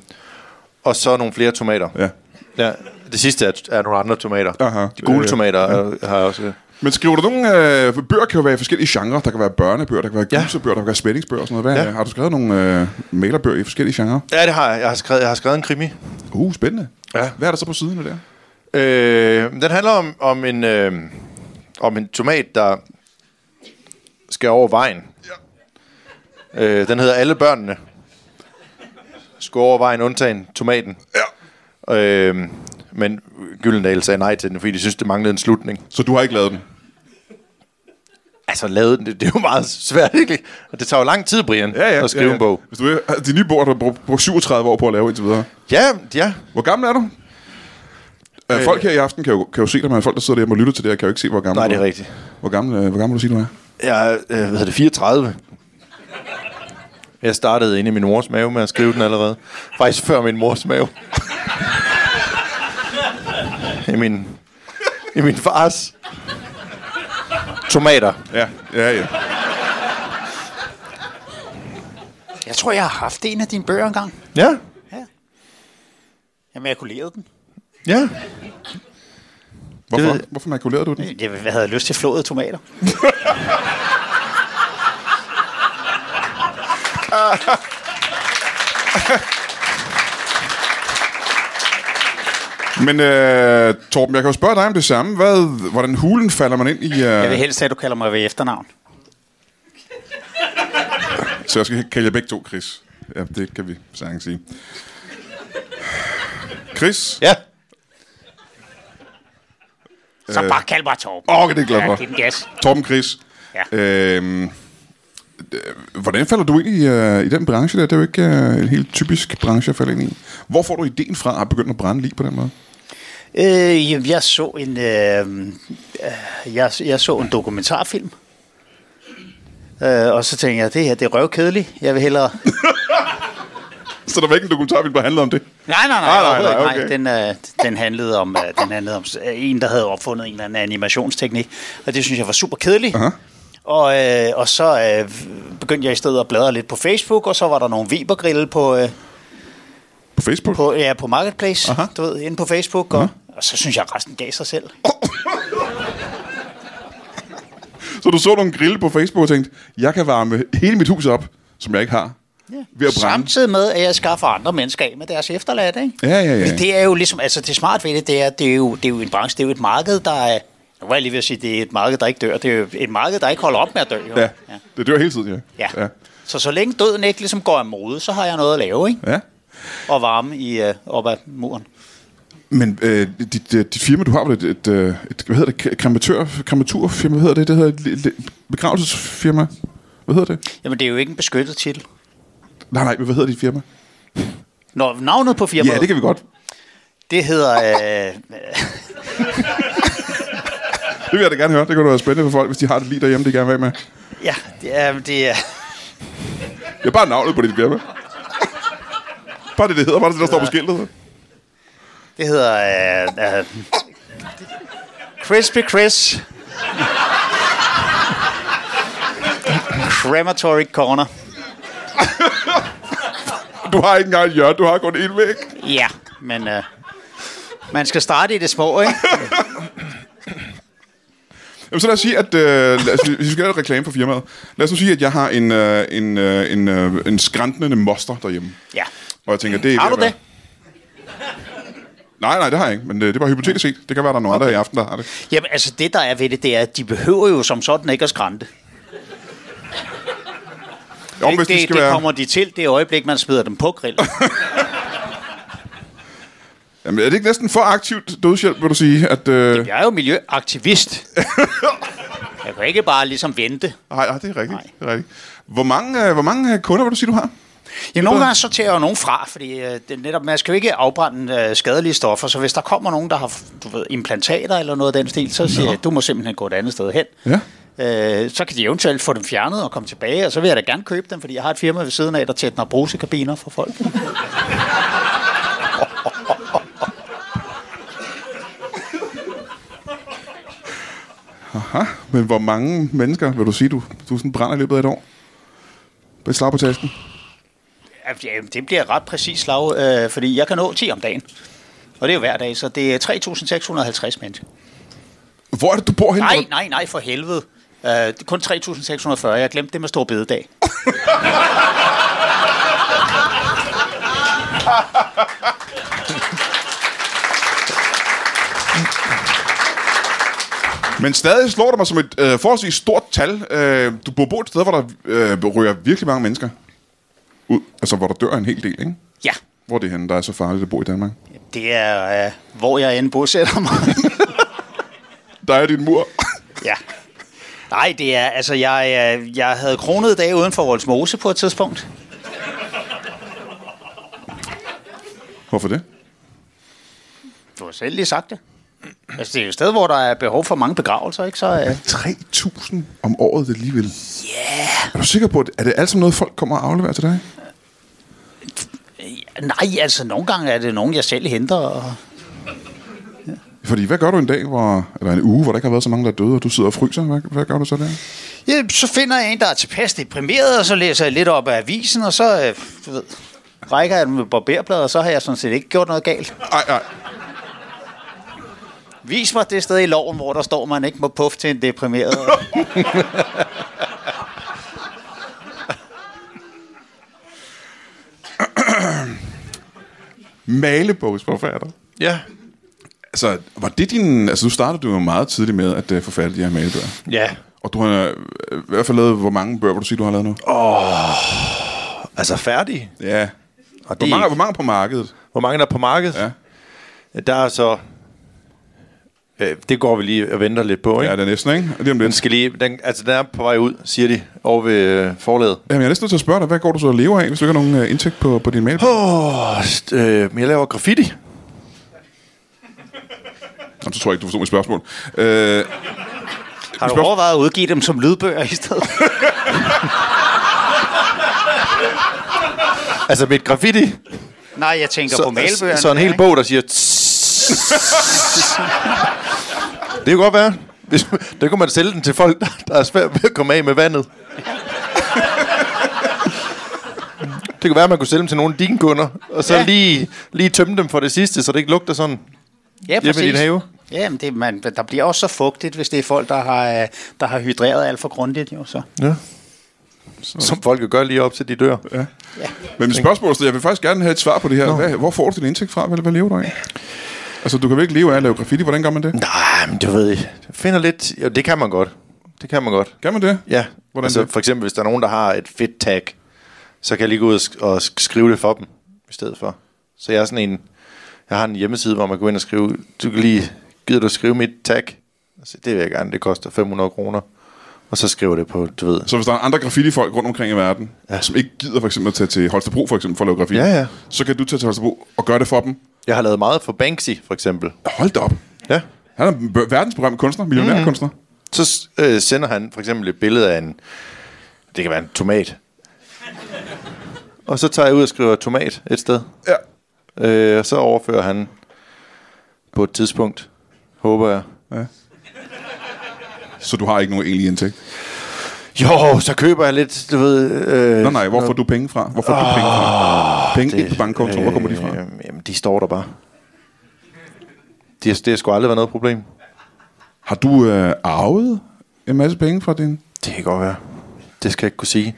[SPEAKER 3] og så nogle flere tomater.
[SPEAKER 1] ja.
[SPEAKER 3] Ja, det sidste er, er nogle andre tomater.
[SPEAKER 1] Aha.
[SPEAKER 3] De gule
[SPEAKER 1] Øh,
[SPEAKER 3] tomater øh, har jeg også.
[SPEAKER 1] Men skriver du nogle... Øh, for bøger kan jo være i forskellige genrer. Der kan være børnebøger, der kan være
[SPEAKER 3] Ja.
[SPEAKER 1] gyserbøger, der kan være spændingsbøger og sådan noget. Hvad, ja.
[SPEAKER 3] Ja.
[SPEAKER 1] Har du skrevet nogle øh, malerbøger i forskellige genrer?
[SPEAKER 3] Ja, det har jeg. Jeg har skrevet, jeg har skrevet en krimi.
[SPEAKER 1] Uh, spændende.
[SPEAKER 3] Ja.
[SPEAKER 1] Hvad er der så på siden af der?
[SPEAKER 3] Øh, den handler om, om, en, øh, om en tomat, der skal over vejen. Ja. Øh, den hedder Alle børnene. Skal over vejen, undtagen tomaten.
[SPEAKER 1] Ja.
[SPEAKER 3] Øh, men Gyldendal sagde nej til den, fordi de synes, det manglede en slutning.
[SPEAKER 1] Så du har ikke lavet den?
[SPEAKER 3] Altså, lavet den, det, det er jo meget svært, ikke? Og det tager jo lang tid, Brian, at skrive en bog.
[SPEAKER 1] Hvis du vil, de nye bord, du har brugt- brugt 37 år på at lave indtil videre.
[SPEAKER 3] Ja, ja.
[SPEAKER 1] Hvor gammel er du? Øh, folk her i aften kan jo, kan jo se dig, men folk, der sidder derhjemme og lytter til det her, kan jo ikke se, hvor gammel
[SPEAKER 3] Nej,
[SPEAKER 1] du
[SPEAKER 3] det er rigtigt.
[SPEAKER 1] Hvor gammel, øh, hvor gammel vil du sige, du er?
[SPEAKER 3] Jeg er, øh, hvad hedder det, 34. Jeg startede inde i min mors mave med at skrive den allerede. Faktisk før min mors mave. I min, i min fars tomater.
[SPEAKER 1] Ja, ja, ja.
[SPEAKER 2] Jeg tror, jeg har haft en af dine bøger engang.
[SPEAKER 3] Ja,
[SPEAKER 2] Ja. Jamen, jeg kunne leve den.
[SPEAKER 3] ja.
[SPEAKER 1] Hvorfor,
[SPEAKER 3] Det ved-
[SPEAKER 1] Hvorfor makulerede du den?
[SPEAKER 2] Jeg jeg havde lyst til flåede tomater.
[SPEAKER 1] Men øh, Torben, jeg kan jo spørge dig om det samme. Hvad, hvordan hulen falder man ind i... Øh...
[SPEAKER 2] Jeg vil helst have, at du kalder mig ved efternavn.
[SPEAKER 1] Så jeg skal kalde jer begge to Chris. Ja, det kan vi sagtens sige. Chris?
[SPEAKER 3] Ja.
[SPEAKER 2] Så bare kald mig Torben.
[SPEAKER 1] Åh, oh, det er jeg glad
[SPEAKER 2] Ja,
[SPEAKER 1] for.
[SPEAKER 2] giv den gas.
[SPEAKER 1] Torben Chris.
[SPEAKER 2] Ja.
[SPEAKER 1] Øhm, øh, hvordan falder du ind i, øh, i den branche der? Det er jo ikke øh, en helt typisk branche at falde ind i. Hvor får du ideen fra at begynde at brænde lige på den måde?
[SPEAKER 2] Øh, jamen, jeg så en, øh, øh, jeg, jeg så en dokumentarfilm. Øh, og så tænkte jeg, det her det er røvkedeligt. Jeg vil hellere...
[SPEAKER 1] Så der var ikke en dokumentarfilm, der handlede om det?
[SPEAKER 2] Nej, nej, nej.
[SPEAKER 1] Nej, nej,
[SPEAKER 2] overhovedet
[SPEAKER 1] nej,
[SPEAKER 2] ikke.
[SPEAKER 1] okay.
[SPEAKER 2] Den, øh, den handlede om, øh, den handlede om øh, en, der havde opfundet en eller anden animationsteknik. Og det synes jeg var super kedeligt.
[SPEAKER 1] Aha.
[SPEAKER 2] Og, øh, og så øh, begyndte jeg i stedet at bladre lidt på Facebook, og så var der nogle Webergrille på, øh,
[SPEAKER 1] På Facebook?
[SPEAKER 2] på, ja, på Marketplace,
[SPEAKER 1] Aha.
[SPEAKER 2] Aha. du ved, inde på Facebook, og, og så synes jeg, at resten gav sig selv.
[SPEAKER 1] Så du så nogle grille på Facebook og tænkte, jeg kan varme hele mit hus op, som jeg ikke har, ja. ved at brænde.
[SPEAKER 2] Samtidig med, at jeg skaffer andre mennesker af med deres efterladt, ikke?
[SPEAKER 1] Ja, ja, ja.
[SPEAKER 2] Men det er jo ligesom, altså det smarte ved det, det er, det er, jo, det er jo en branche, det er jo et marked, der er, nu var jeg lige ved at sige, det er et marked, der ikke dør, det er jo et marked, der ikke holder op med at dø. Jo.
[SPEAKER 1] Ja, det dør hele tiden, ja.
[SPEAKER 2] ja. Så så længe døden ikke ligesom går af mode, så har jeg noget at lave, ikke?
[SPEAKER 1] ja.
[SPEAKER 2] Og varme i, øh, op ad muren.
[SPEAKER 1] Men øh, dit, øh, dit firma, du har vel et, et, øh, et hvad hedder det, krematør, krematurfirma, hvad hedder det, det hedder et, et, et begravelsesfirma, hvad hedder det?
[SPEAKER 2] Jamen, det er jo ikke en beskyttet titel.
[SPEAKER 1] Nej, nej, men hvad hedder dit firma?
[SPEAKER 2] Nå, navnet på firmaet,
[SPEAKER 1] Ja, det kan vi godt,
[SPEAKER 2] det hedder... Øh,
[SPEAKER 1] det vil jeg da gerne høre, det kunne da være spændende for folk, hvis de har det lige derhjemme, de gerne vil af med.
[SPEAKER 2] ja, det er... Det er
[SPEAKER 1] Det er bare navnet på dit firma. Bare det, det hedder, bare det, der står på skiltet.
[SPEAKER 2] Det hedder... Øh, øh, Crispy Chris. Crematory Corner.
[SPEAKER 1] Du har ikke engang et hjørne, du har kun en væg.
[SPEAKER 2] Ja, men øh, man skal starte i det små, ikke?
[SPEAKER 1] Jamen, så lad os sige, at øh, lad os, hvis vi skal lave reklame for firmaet, lad os nu sige, at jeg har en, øh, en, øh, en, øh, en skrantende moster derhjemme.
[SPEAKER 2] Ja.
[SPEAKER 1] Og jeg tænker, det er
[SPEAKER 2] Har
[SPEAKER 1] ved
[SPEAKER 2] du
[SPEAKER 1] at
[SPEAKER 2] det?
[SPEAKER 1] være- Nej, nej, det har jeg ikke, men øh, det er bare hypotetisk set. Det kan være, der er nogen okay. andre i aften, der har det.
[SPEAKER 2] Jamen, altså det, der er ved det, det er, at de behøver jo som sådan ikke at skrante.
[SPEAKER 1] Jo, hvis
[SPEAKER 2] det,
[SPEAKER 1] det, skal
[SPEAKER 2] det
[SPEAKER 1] være...
[SPEAKER 2] kommer de til det øjeblik, man smider dem på grillen.
[SPEAKER 1] Jamen, er det ikke næsten for aktivt dødshjælp, vil du sige? At, øh...
[SPEAKER 2] Jeg er jo miljøaktivist. Jeg kan ikke bare ligesom vente.
[SPEAKER 1] Nej, nej, det er rigtigt.
[SPEAKER 2] Nej.
[SPEAKER 1] Det er rigtigt. Hvor, mange, øh, hvor mange øh, kunder vil du sige, du har?
[SPEAKER 2] Ja, nogle gange sorterer jeg jo nogen fra, fordi øh, det er netop, man skal jo ikke afbrænde øh, skadelige stoffer, så hvis der kommer nogen, der har du ved, implantater eller noget af den stil, så siger jeg, du må simpelthen gå et andet sted hen.
[SPEAKER 1] Ja.
[SPEAKER 2] Øh, så kan de eventuelt få dem fjernet og komme tilbage, og så vil jeg da gerne købe dem, fordi jeg har et firma ved siden af, der tætner brusekabiner for folk.
[SPEAKER 1] Men hvor mange mennesker vil du sige, du, du sådan brænder i løbet af et år? Bare et slag på tasken.
[SPEAKER 2] Ja, jamen, det bliver ret præcis slag, øh, fordi jeg kan nå 10 om dagen. Og det er jo hver dag, så det er 3.650 mennesker.
[SPEAKER 1] Hvor er det, du bor henne?
[SPEAKER 2] Nej, nej, nej, for helvede. Uh, det er kun 3.640. Jeg glemte det med stor bededag.
[SPEAKER 1] Men stadig slår det mig som et øh, forholdsvis stort tal. Øh, du bor på et sted, hvor der øh, ryger virkelig mange mennesker ud. Altså, hvor der dør en hel del, ikke?
[SPEAKER 2] Ja,
[SPEAKER 1] Hvor er det henne, der er så farligt at bo i Danmark?
[SPEAKER 2] Det er, øh, hvor jeg end bosætter mig.
[SPEAKER 1] Der er din mur.
[SPEAKER 2] ja. Nej, det er, altså, jeg, øh, jeg havde kronet dage uden for Voldsmose på et tidspunkt.
[SPEAKER 1] Hvorfor det?
[SPEAKER 2] Du har selv lige sagt det. Altså, det er jo et sted, hvor der er behov for mange begravelser, ikke? Så, øh,
[SPEAKER 1] 3.000 om året det alligevel. Yeah. Er du sikker på, at er det alt sammen noget, folk kommer og afleverer til dig?
[SPEAKER 2] nej, altså, nogle gange er det nogen, jeg selv henter. Og...
[SPEAKER 1] Fordi hvad gør du en dag, hvor, eller en uge, hvor der ikke har været så mange, der er døde, og du sidder og fryser? Hvad, hvad gør du så der?
[SPEAKER 2] Ja, så finder jeg en, der er tilpas deprimeret, og så læser jeg lidt op af avisen, og så, øh, du ved, rækker jeg den med barberblad, og så har jeg sådan set ikke gjort noget galt.
[SPEAKER 1] Ej, ej.
[SPEAKER 2] Vis mig det sted i loven, hvor der står, man ikke må puffe til en deprimeret.
[SPEAKER 1] Malebogsforfatter.
[SPEAKER 3] Ja.
[SPEAKER 1] Altså, var det din... Altså, du startede du jo meget tidligt med at øh, forfatte de her malebøger.
[SPEAKER 3] Ja.
[SPEAKER 1] Og du har øh, i hvert fald lavet, hvor mange bøger, vil du sige, du har lavet nu?
[SPEAKER 3] Altså færdig.
[SPEAKER 1] Ja.
[SPEAKER 3] Og
[SPEAKER 1] Hvor mange, hvor mange på markedet?
[SPEAKER 3] Hvor mange der er på markedet?
[SPEAKER 1] Ja.
[SPEAKER 3] Der er så... Øh, det går vi lige og venter lidt på,
[SPEAKER 1] Ja,
[SPEAKER 3] ikke?
[SPEAKER 1] det er næsten, ikke? Og Lige om
[SPEAKER 3] Den
[SPEAKER 1] lidt.
[SPEAKER 3] skal lige... Den, altså, den er på vej ud, siger de, over ved øh, forlaget.
[SPEAKER 1] Jamen, jeg er næsten nødt til at spørge dig, hvad går du så og lever af, hvis du ikke har nogen øh, indtægt på, på din mail?
[SPEAKER 3] Åh, st- øh, men jeg laver graffiti.
[SPEAKER 1] Jamen, så tror jeg ikke, du forstod mit spørgsmål. Øh,
[SPEAKER 2] Har du
[SPEAKER 1] Spørgsmål-
[SPEAKER 2] overvejet at udgive dem som lydbøger i stedet?
[SPEAKER 3] Altså, mit graffiti.
[SPEAKER 2] Nej, jeg tænker på malebøgerne.
[SPEAKER 3] så en
[SPEAKER 2] her,
[SPEAKER 3] hel
[SPEAKER 2] ikke?
[SPEAKER 3] bog, der siger... det kan godt være. Hvis, der kunne man sælge den til folk, der- der er svært ved at komme af med vandet. Det kunne være, at man kunne sælge dem til nogle af dine kunder, og så
[SPEAKER 2] Ja.
[SPEAKER 3] ja. lige, lige tømme dem for det sidste, så det ikke lugter sådan.
[SPEAKER 2] Ja,
[SPEAKER 3] Hjemme i din have?
[SPEAKER 2] Ja, men det, man, der bliver også så fugtigt, hvis det er folk, der har, øh, der har hydreret alt for grundigt. Jo, så.
[SPEAKER 3] Ja. Som folk jo gør lige op til de dør.
[SPEAKER 1] ja.
[SPEAKER 2] Ja.
[SPEAKER 1] Men mit spørgsmål er, så jeg vil faktisk gerne have et svar på det her. Hvad, hvor får du din indtægt fra? Hvad, hvad lever du af? Altså, du kan vel ikke leve af at lave graffiti. Hvordan gør man det?
[SPEAKER 3] Nej, men du ved, jeg finder lidt... Jo, det kan man godt. Det kan man godt.
[SPEAKER 1] Kan man det?
[SPEAKER 3] Ja,
[SPEAKER 1] Hvordan
[SPEAKER 3] altså
[SPEAKER 1] det?
[SPEAKER 3] for eksempel, hvis der er nogen, der har et fedt tag, så kan jeg lige gå ud og, sk- og sk- skrive det for dem i stedet for. Så jeg er sådan en, jeg har en hjemmeside, hvor man går ind og skriver, du kan lige, gider du at skrive mit tag? Og Så, det vil jeg gerne, det koster 500 kroner. Og så skriver det på, du ved.
[SPEAKER 1] Så hvis der er andre graffiti-folk rundt omkring i verden, ja.
[SPEAKER 3] Ja.
[SPEAKER 1] som ikke gider for eksempel at tage til Holstebro for eksempel for at lave graffiti,
[SPEAKER 3] Ja, ja.
[SPEAKER 1] så kan du tage til Holstebro og gøre det for dem.
[SPEAKER 3] Jeg har lavet meget for Banksy, for eksempel.
[SPEAKER 1] Hold da op.
[SPEAKER 3] Ja.
[SPEAKER 1] Han er en bør- verdensberømt kunstner, millionærkunstner. Mm-hmm.
[SPEAKER 3] Så s- øh, sender han for eksempel et billede af en, det kan være en tomat. Og så tager jeg ud og skriver tomat et sted.
[SPEAKER 1] Ja.
[SPEAKER 3] Øh, og så overfører han på et tidspunkt, håber jeg.
[SPEAKER 1] Så du har ikke nogen egentlig indtægt.
[SPEAKER 3] Jo, så køber jeg lidt, du ved... Øh,
[SPEAKER 1] Nå nej, hvor får du penge fra? Hvor får oh, du penge fra? Penge ikke på bankkontoen, hvor kommer de fra?
[SPEAKER 3] Øh, jamen, de står der bare. Det, det har sgu aldrig været noget problem.
[SPEAKER 1] Har du øh, arvet en masse penge fra din...
[SPEAKER 3] Det kan godt være. Det skal jeg ikke kunne sige.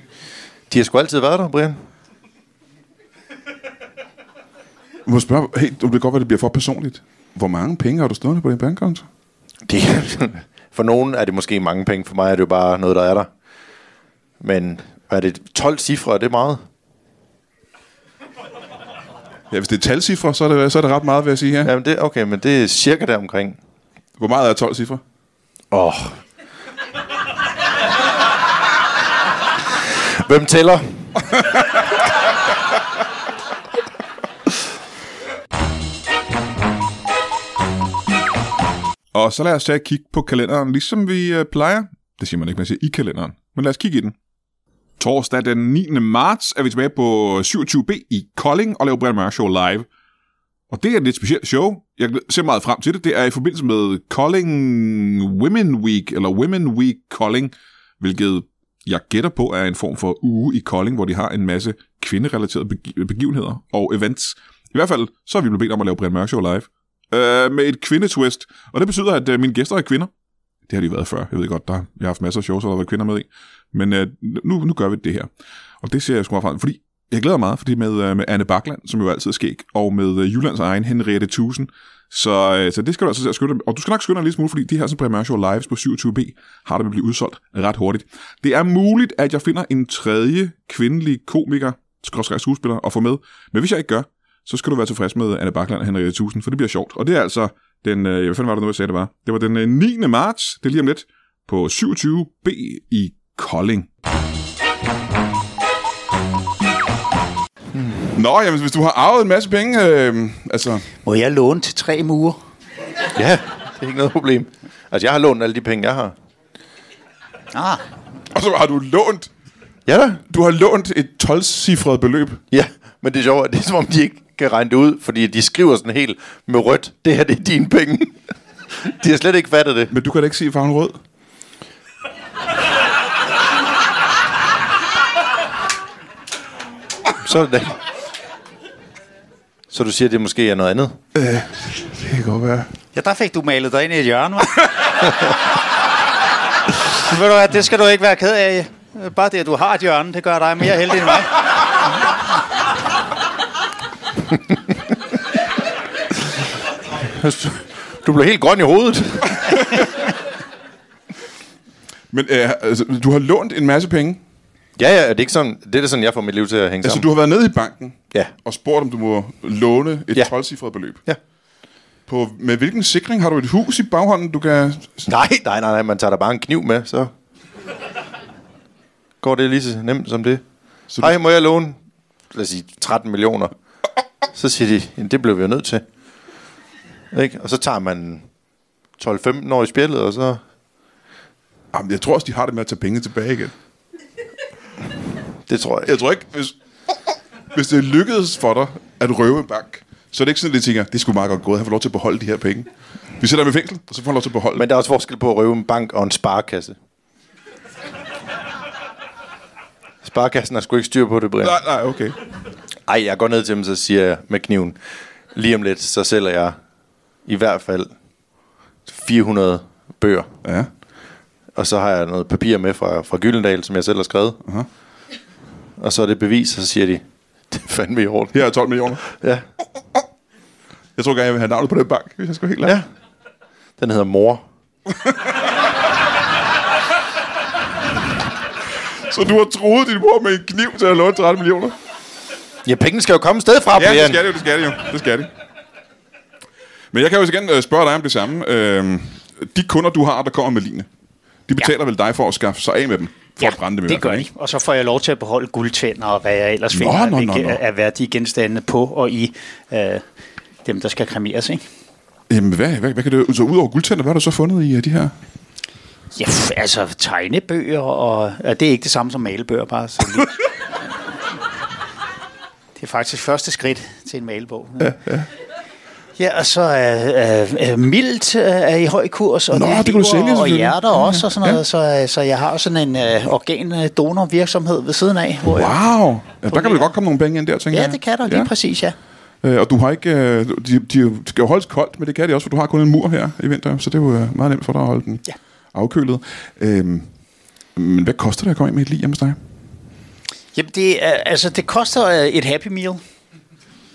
[SPEAKER 3] De har sgu altid været der, Brian.
[SPEAKER 1] Må jeg spørge, hey, det kan godt være, det bliver for personligt. Hvor mange penge har du stående på din bankkonto?
[SPEAKER 3] Det, for nogen er det måske mange penge. For mig er det jo bare noget, der er der. Men er det 12 cifre? Er det meget?
[SPEAKER 1] Ja, hvis det er talcifre, så er det, så er det ret meget, vil jeg sige her. Ja.
[SPEAKER 3] Jamen, det, okay, men det er cirka deromkring.
[SPEAKER 1] Hvor meget er 12 cifre?
[SPEAKER 3] Åh. Oh. Hvem tæller?
[SPEAKER 1] Og så lad os tage et kig på kalenderen, ligesom vi øh, plejer. Det siger man ikke, man siger i kalenderen. Men lad os kigge i den. Torsdag den 9. marts er vi tilbage på 27B i Kolding og laver Brian Mørk Show live. Og det er et lidt specielt show. Jeg glæ- ser meget frem til det. Det er i forbindelse med Kolding Women Week, eller Women Week Kolding, hvilket jeg gætter på er en form for uge i Kolding, hvor de har en masse kvinderelaterede begi- begivenheder og events. I hvert fald, så er vi blevet bedt om at lave Brian Mørk Show live øh, med et kvindetwist. Og det betyder, at øh, mine gæster er kvinder. Det har de været før. Jeg ved godt, der, jeg har haft masser af shows, hvor der har været kvinder med i. Men øh, nu, nu gør vi det her. Og det ser jeg sgu meget frem til, fordi jeg glæder mig meget, fordi med, øh, med Anne Bakland, som jo altid er skæg, og med øh, Jyllands egen Henriette Tusen. Så, øh, så det skal du altså til at skynde dig- Og du skal nok skynde dig en lille smule, fordi de her sådan, Premier Show Lives på 27B har der blive udsolgt ret hurtigt. Det er muligt, at jeg finder en tredje kvindelig komiker, skråstreg skuespiller, og få med. Men hvis jeg ikke gør, så skal du være tilfreds med Anne Bakland og Henriette Tusen, for det bliver sjovt. Og det er altså den, øh, hvad fanden var det nu, jeg sagde, det var? Det var den øh, 9. marts, det er lige om lidt, på 27B i Kolding. Nå, jamen, hvis du har arvet en masse penge, øh, altså...
[SPEAKER 2] Må jeg låne til tre uger?
[SPEAKER 3] Ja, det er ikke noget problem. Altså, jeg har lånt alle de penge, jeg har.
[SPEAKER 2] Ah,
[SPEAKER 1] Og så har du lånt...
[SPEAKER 3] Ja da.
[SPEAKER 1] Du har lånt et 12-cifret beløb.
[SPEAKER 3] Ja, men det er sjovt, at det er som om, de ikke kan regne det ud, fordi de skriver sådan helt med rødt, det her det er dine penge. de har slet ikke fattet det.
[SPEAKER 1] Men du kan da ikke se farven rød.
[SPEAKER 3] Så er det da ikke. Så du siger, at det måske er noget andet?
[SPEAKER 1] Øh, Det kan godt være.
[SPEAKER 2] ja, der fik du malet dig ind i et hjørne, hva'? Men Ved du hvad, det skal du ikke være ked af. Bare det, at du har et hjørne, det gør dig mere heldig end mig.
[SPEAKER 3] Du blev helt grøn i hovedet.
[SPEAKER 1] Men øh, altså, du har lånt en masse penge.
[SPEAKER 3] Ja, ja, det er ikke sådan, det er da sådan, jeg får mit liv til at hænge
[SPEAKER 1] Altså,
[SPEAKER 3] sammen.
[SPEAKER 1] du har været nede i banken
[SPEAKER 3] Ja.
[SPEAKER 1] og spurgt, om du må låne et
[SPEAKER 3] Ja.
[SPEAKER 1] ja. 12-cifret beløb.
[SPEAKER 3] Ja.
[SPEAKER 1] På, med hvilken sikring har du et hus i baghånden, du kan...
[SPEAKER 3] Nej, nej, nej, nej, man tager da bare en kniv med, så går det lige så nemt som det. Så
[SPEAKER 1] du-
[SPEAKER 3] Hej, må jeg låne, lad os sige, 13 millioner? Så siger de, "Jamen, det blev vi jo nødt til. Ikke? Og så tager man 12-15 år i spjældet, og så...
[SPEAKER 1] Jamen, jeg tror også, de har det med at tage penge tilbage igen.
[SPEAKER 3] Det tror jeg.
[SPEAKER 1] Jeg tror ikke, hvis, hvis det lykkedes for dig at røve en bank, så er det ikke sådan, at de tænker, det skulle meget godt gået, han får lov til at beholde de her penge. Vi sætter ham i fængsel, og så får han lov til at beholde
[SPEAKER 3] Men der er også forskel på at røve en bank og en sparekasse. Sparekassen har sgu ikke styr på det, Brian.
[SPEAKER 1] Nej, nej, okay.
[SPEAKER 3] Ej, jeg går ned til dem, så siger jeg med kniven, lige om lidt, så sælger jeg i hvert fald 400 bøger.
[SPEAKER 1] Ja.
[SPEAKER 3] Og så har jeg noget papir med fra, fra Gyldendal, som jeg selv har skrevet.
[SPEAKER 1] Aha.
[SPEAKER 3] Og så er det bevis, og så siger de, det er fandme i orden.
[SPEAKER 1] Her er 12 millioner.
[SPEAKER 3] Ja.
[SPEAKER 1] Jeg tror gerne, jeg vil have navnet på den bank, hvis jeg skal være helt
[SPEAKER 3] ja. Den hedder Mor.
[SPEAKER 1] ærlig. Så du har troet din mor med en kniv til at låne 13 millioner?
[SPEAKER 3] Ja, pengene skal jo komme et sted fra,
[SPEAKER 1] Ja, det
[SPEAKER 3] Brian.
[SPEAKER 1] skal det jo, det skal det jo. Det skal det. Men jeg kan jo igen øh, spørge dig om det samme. Øh, de kunder, du har, der kommer med line, de betaler ja. vel dig for at skaffe sig af med dem? For at brænde dem i
[SPEAKER 2] det
[SPEAKER 1] hvert fald,
[SPEAKER 2] gør de.
[SPEAKER 1] ikke?
[SPEAKER 2] Og så får jeg lov til at beholde guldtænder og hvad jeg ellers
[SPEAKER 1] Nå,
[SPEAKER 2] finder
[SPEAKER 1] nå,
[SPEAKER 2] af-
[SPEAKER 1] nå, nå.
[SPEAKER 2] af værdige genstande på og i øh, dem, der skal kremeres. Ikke?
[SPEAKER 1] Jamen, hvad, hvad, hvad kan det, så ud over guldtænder, hvad har du så fundet i øh, de her?
[SPEAKER 2] Ja, pff, altså tegnebøger, og ja, det er ikke det samme som malebøger, bare så lige. Det er faktisk første skridt til en malebog. Ja, ja. ja og så er øh, øh, mildt øh, er i høj kurs, og
[SPEAKER 1] Nå,
[SPEAKER 2] er
[SPEAKER 1] det kan du
[SPEAKER 2] lever
[SPEAKER 1] sælge
[SPEAKER 2] og
[SPEAKER 1] selvfølgelig.
[SPEAKER 2] hjerter
[SPEAKER 1] Ja, ja.
[SPEAKER 2] også, og sådan noget, så, øh, så jeg har sådan en øh, organdonorvirksomhed ved siden af. Hvor jeg,
[SPEAKER 1] Wow! Ja, der kan vel godt komme nogle penge ind der, tænker
[SPEAKER 2] ja,
[SPEAKER 1] jeg.
[SPEAKER 2] det kan der lige ja. præcis, ja.
[SPEAKER 1] Øh, og du har ikke... Øh, de, de skal jo holdes koldt, men det kan de også, for du har kun en mur her i vinter, så det er jo øh, meget nemt for dig at holde den
[SPEAKER 2] Ja.
[SPEAKER 1] afkølet. Øh, men hvad koster det at komme ind med et lig hjemme hos dig?
[SPEAKER 2] Jamen, det, er, altså, det koster øh, et Happy Meal,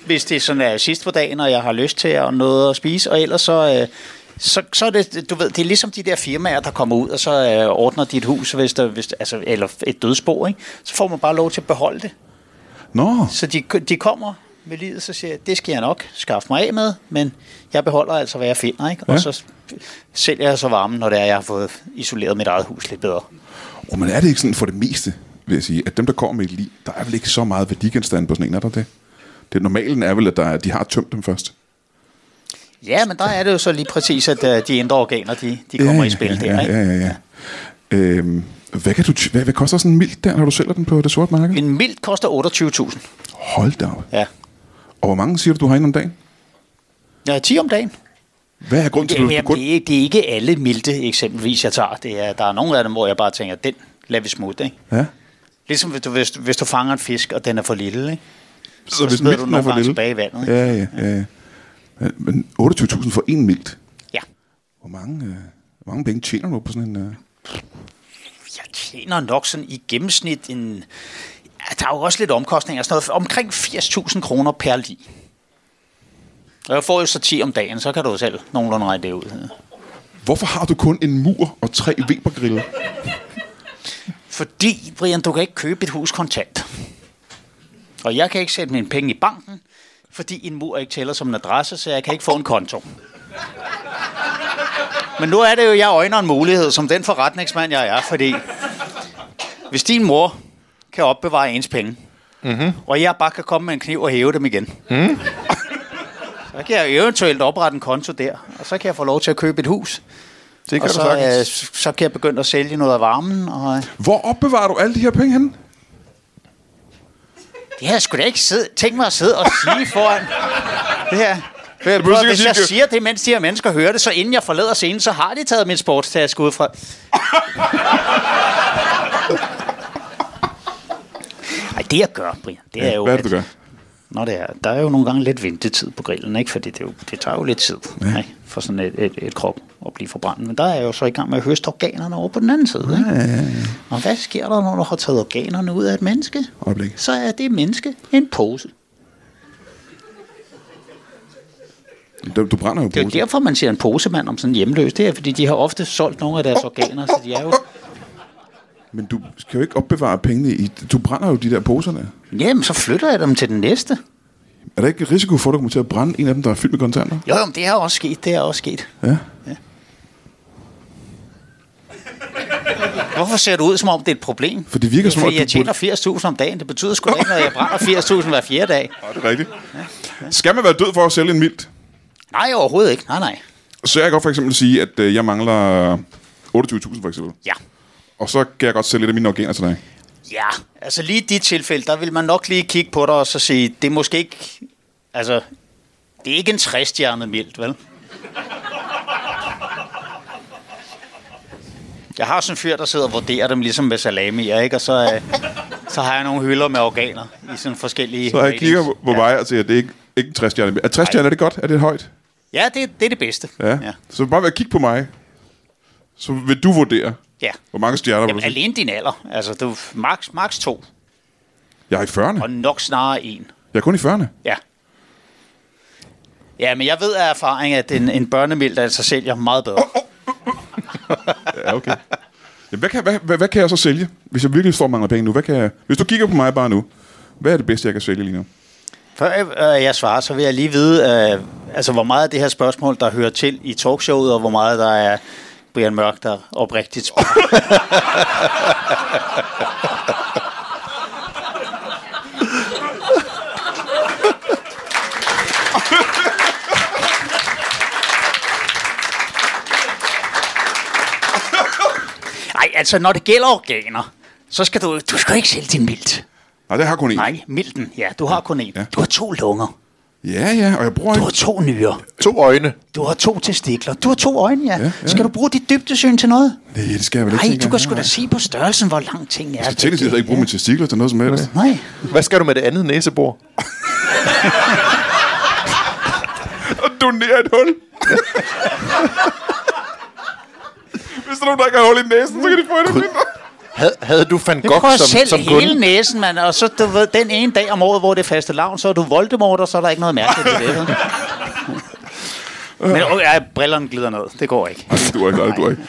[SPEAKER 2] hvis det sådan er sidst på dagen, og jeg har lyst til at noget at spise, og ellers så... Øh, så, så er det, du ved, det er ligesom de der firmaer, der kommer ud, og så øh, ordner dit hus, hvis der, hvis, altså, eller et dødsbo, ikke? så får man bare lov til at beholde det.
[SPEAKER 1] Nå,
[SPEAKER 2] Så de, de kommer med livet, så siger jeg, det skal jeg nok skaffe mig af med, men jeg beholder altså, hvad jeg finder, ikke? Ja.
[SPEAKER 1] Ja.
[SPEAKER 2] og så sælger jeg så varmen, når det er, jeg har fået isoleret mit eget hus lidt bedre.
[SPEAKER 1] Og men er det ikke sådan for det meste, vil jeg sige, at dem, der kommer med et lig, der er vel ikke så meget værdigenstand på sådan en, er der det? Det normalen er vel, at der er, de har tømt dem først.
[SPEAKER 2] Ja, men der er det jo så lige præcis, at øh, de indre organer, de, de kommer i spil der,
[SPEAKER 1] ja,
[SPEAKER 2] ikke?
[SPEAKER 1] Ja, ja, ja. Øhm, hvad, kan du, ty- hvad, hvad koster sådan en mild der, når du sælger den på det sorte marked?
[SPEAKER 2] En mild koster 28.000.
[SPEAKER 1] Hold da op.
[SPEAKER 2] Ja.
[SPEAKER 1] Og hvor mange siger du, du har ind om dagen?
[SPEAKER 2] Ja, 10 om dagen.
[SPEAKER 1] Hvad er grunden til,
[SPEAKER 2] Jamen,
[SPEAKER 1] at du
[SPEAKER 2] jamen,
[SPEAKER 1] kun...
[SPEAKER 2] det, er, det er ikke alle milde eksempelvis, jeg tager. Det er, der er nogle af dem, hvor jeg bare tænker, den lader vi smutte, ikke?
[SPEAKER 1] Ja?
[SPEAKER 2] Ligesom hvis du, hvis, du- hvis du fanger en fisk, og den er for lille, ikke?
[SPEAKER 1] Så,
[SPEAKER 2] smider du
[SPEAKER 1] milten
[SPEAKER 2] nogle gange tilbage i vandet, ikke?
[SPEAKER 1] Ja, ja, ja. ja. Men- Men 28.000 for en mildt.
[SPEAKER 2] Ja.
[SPEAKER 1] Hvor mange, øh, hvor mange penge tjener du på sådan en... Øh?
[SPEAKER 2] Jeg tjener nok sådan i gennemsnit en... Ja, der er jo også lidt omkostninger og sådan noget. Omkring 80.000 kroner per lig. Og jeg får jo så 10 om dagen, så kan du jo selv nogenlunde regne det ud.
[SPEAKER 1] Hvorfor har du kun en mur og tre Webergrille?
[SPEAKER 2] Fordi, Brian, du kan ikke købe et hus kontant. Og jeg kan ikke sætte mine penge i banken, fordi en mur ikke tæller som en adresse, så jeg kan ikke få en konto. Men nu er det jo, jeg øjner en mulighed, som den forretningsmand, jeg er, fordi hvis din mor kan opbevare ens penge,
[SPEAKER 3] Mhm.
[SPEAKER 2] mm-hmm. og jeg bare kan komme med en kniv og hæve dem igen, mm. så kan jeg eventuelt oprette en konto der, og så kan jeg få lov til at købe et hus.
[SPEAKER 3] Det kan
[SPEAKER 2] og
[SPEAKER 3] du
[SPEAKER 2] så,
[SPEAKER 3] sagtens.
[SPEAKER 2] øh, s- så kan jeg begynde at sælge noget af varmen, og...
[SPEAKER 1] Hvor opbevarer du alle de her penge henne?
[SPEAKER 2] Det her skulle da ikke sidde, tænke mig at sidde og sige foran det her. Det her
[SPEAKER 1] du behøver ikke at
[SPEAKER 2] hvis
[SPEAKER 1] sige,
[SPEAKER 2] jeg
[SPEAKER 1] det-
[SPEAKER 2] siger det, mens de her mennesker hører det, så inden jeg forlader scenen, så har de taget min sportstaske ud fra. Ej, det jeg gør, Brian, det er jo... altså.
[SPEAKER 1] Hvad er det, du gør?
[SPEAKER 2] Nå, det er, der er jo nogle gange lidt ventetid på grillen, ikke? Fordi det, er jo, det tager jo lidt tid ja. ikke? for sådan et, et, et krop at blive forbrændt. Men der er jeg jo så i gang med at høste organerne over på den anden side. Ikke? Og hvad sker der, når du har taget organerne ud af et menneske?
[SPEAKER 1] Øjeblik.
[SPEAKER 2] Så er det menneske en pose.
[SPEAKER 1] Du, du brænder jo
[SPEAKER 2] Det er jo
[SPEAKER 1] poser.
[SPEAKER 2] derfor, man siger en posemand om sådan en hjemløs. Det er, fordi de har ofte solgt nogle af deres organer, så de er jo...
[SPEAKER 1] Men du skal jo ikke opbevare pengene i... Du brænder jo de der poser der.
[SPEAKER 2] Jamen, så flytter jeg dem til den næste.
[SPEAKER 1] Er der ikke risiko for, at du kommer til at brænde en af dem, der er fyldt med kontanter?
[SPEAKER 2] Jo, jo, men det er også sket, det er også sket.
[SPEAKER 1] Ja.
[SPEAKER 2] Hvorfor ser du ud, som om det er et problem?
[SPEAKER 1] For det virker
[SPEAKER 2] er,
[SPEAKER 1] som om,
[SPEAKER 2] fordi
[SPEAKER 1] at
[SPEAKER 2] jeg
[SPEAKER 1] du
[SPEAKER 2] tjener 80.000 om dagen. Det betyder sgu da ikke, at jeg brænder 80.000 hver fjerde dag.
[SPEAKER 1] Ja, det er rigtigt. Skal man være død for at sælge en mildt?
[SPEAKER 2] Nej, overhovedet ikke. Nej, nej.
[SPEAKER 1] Så jeg kan godt for eksempel sige, at øh, jeg mangler 28.000 for eksempel.
[SPEAKER 2] Ja.
[SPEAKER 1] Og så kan jeg godt sælge lidt af mine organer til dig.
[SPEAKER 2] Ja, altså lige i dit tilfælde, der vil man nok lige kigge på dig og så sige, det er måske ikke... Altså, det er ikke en træstjernet mildt, vel? Jeg har sådan en fyr, der sidder og vurderer dem ligesom med salamier, ikke? Og så, øh, så har jeg nogle hylder med organer i sådan forskellige...
[SPEAKER 1] Så jeg
[SPEAKER 2] ratings.
[SPEAKER 1] kigger på ja. mig og siger, at det er ikke, ikke en 60 stjerne. Er 60 stjerne, er det godt? Er det højt?
[SPEAKER 2] Ja, det, det er det bedste.
[SPEAKER 1] Ja. ja.
[SPEAKER 2] ja.
[SPEAKER 1] Så bare ved at kigge på mig, så vil du vurdere,
[SPEAKER 2] ja.
[SPEAKER 1] hvor mange stjerner
[SPEAKER 2] Jamen,
[SPEAKER 1] vil du sige.
[SPEAKER 2] alene din alder. Altså, du max, max to,
[SPEAKER 1] Jeg er i 40'erne.
[SPEAKER 2] og nok snarere en.
[SPEAKER 1] Jeg er kun i 40'erne.
[SPEAKER 2] Ja. Ja, men jeg ved af erfaring, at en, en børnemild altså sælger meget bedre.
[SPEAKER 1] Ja, okay. Jamen, hvad, kan, hvad, hvad, hvad kan jeg så sælge, hvis jeg virkelig står og mangler penge nu? Hvad kan jeg, hvis du kigger på mig bare nu, hvad er det bedste, jeg kan sælge lige nu?
[SPEAKER 2] Før øh, jeg svarer, så vil jeg lige vide, øh, altså, hvor meget af det her spørgsmål, der hører til i talkshowet, og hvor meget der er Brian Mørk, der oprigtigt spørger. Ej, altså, når det gælder organer, så skal du, du skal ikke sælge din mildt.
[SPEAKER 1] Nej, det har jeg kun en.
[SPEAKER 2] Nej, milden. Ja, du har kun én.
[SPEAKER 1] Ja.
[SPEAKER 2] Ja. Du har to lunger.
[SPEAKER 1] Ja, ja, og jeg bruger
[SPEAKER 2] Du
[SPEAKER 1] ikke...
[SPEAKER 2] har to nyrer.
[SPEAKER 3] To øjne.
[SPEAKER 2] Du har to testikler. Du har to øjne, ja.
[SPEAKER 1] Ja,
[SPEAKER 2] ja,
[SPEAKER 1] ja.
[SPEAKER 2] ja. Skal du bruge dit dybdesyn til noget?
[SPEAKER 1] Nej, det skal jeg vel ikke
[SPEAKER 2] Nej,
[SPEAKER 1] tænke
[SPEAKER 2] du
[SPEAKER 1] om.
[SPEAKER 2] kan sgu da se på størrelsen, hvor lang ting er.
[SPEAKER 1] Jeg skal teknisk set ikke bruge mine testikler til noget som helst.
[SPEAKER 2] Nej.
[SPEAKER 3] Hvad skal du med det andet næsebor?
[SPEAKER 1] Og donere et hul. Hvis der er nogen, der ikke har hul i næsen, så kan de få et hul i næsen.
[SPEAKER 3] Havde, havde du Van
[SPEAKER 2] Men prøv
[SPEAKER 3] Gogh
[SPEAKER 2] at
[SPEAKER 3] som,
[SPEAKER 2] selv
[SPEAKER 3] som
[SPEAKER 2] hele
[SPEAKER 3] kunde?
[SPEAKER 2] næsen, mand. Og så, du ved, den ene dag om året, hvor det er faste lavn, så er du Voldemort, og så er der ikke noget mærkeligt ved det. vel? Men øh, ja, brillerne glider ned. Det går ikke.
[SPEAKER 1] Nej, det duer ikke, nej, det duer ikke.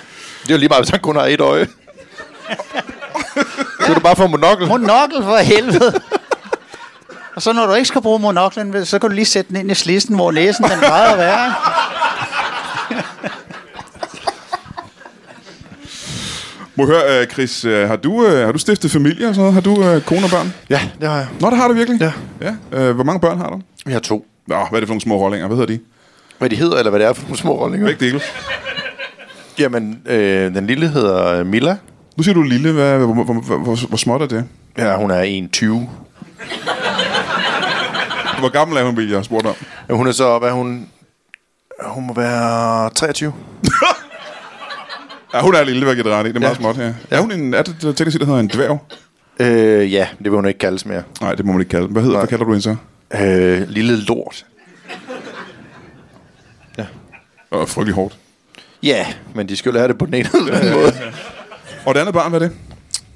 [SPEAKER 3] Det er jo lige meget, hvis han kun har et øje. Så kan du bare få monokkel.
[SPEAKER 2] Monokkel for helvede. Og så når du ikke skal bruge monoklen, så kan du lige sætte den ind i slisten, hvor næsen den plejer at være. ikke?
[SPEAKER 1] Må jeg høre, øh, Chris, øh, har du, øh, har du stiftet familie og sådan noget? Har du øh, kone og børn?
[SPEAKER 3] Ja, det har jeg.
[SPEAKER 1] Nå, det har du virkelig?
[SPEAKER 3] Ja.
[SPEAKER 1] ja. Øh, hvor mange børn har du?
[SPEAKER 3] Jeg har to.
[SPEAKER 1] Nå, hvad er det for nogle små rollinger? Hvad hedder de?
[SPEAKER 3] Hvad de hedder, eller hvad det er for nogle små rollinger?
[SPEAKER 1] Begge dele.
[SPEAKER 3] Jamen, øh, den lille hedder Milla.
[SPEAKER 1] Nu siger du lille. Hvad, hvor, hvor, hvor, hvor, hvor småt er det?
[SPEAKER 3] Ja, hun er 1,20.
[SPEAKER 1] Hvor gammel er hun, vil jeg have spurgt om?
[SPEAKER 3] Ja, Hun er så, hvad er hun... Hun må være 23.
[SPEAKER 1] Ja, hun er lille, hvad jeg giver dig ret i. Det er meget
[SPEAKER 3] Ja.
[SPEAKER 1] småt her. Ja. Er hun en, er det der teknisk set, der hedder en dværg?
[SPEAKER 3] Øh, ja, det vil hun ikke kaldes mere.
[SPEAKER 1] Nej, det må man ikke kalde. den. Hvad, hedder, hvad kalder du hende så?
[SPEAKER 3] Øh, lille lort. Ja.
[SPEAKER 1] Og frygtelig hårdt.
[SPEAKER 3] Ja, men de skal jo lære det på den ene eller anden måde.
[SPEAKER 1] Og det andet barn, hvad er det?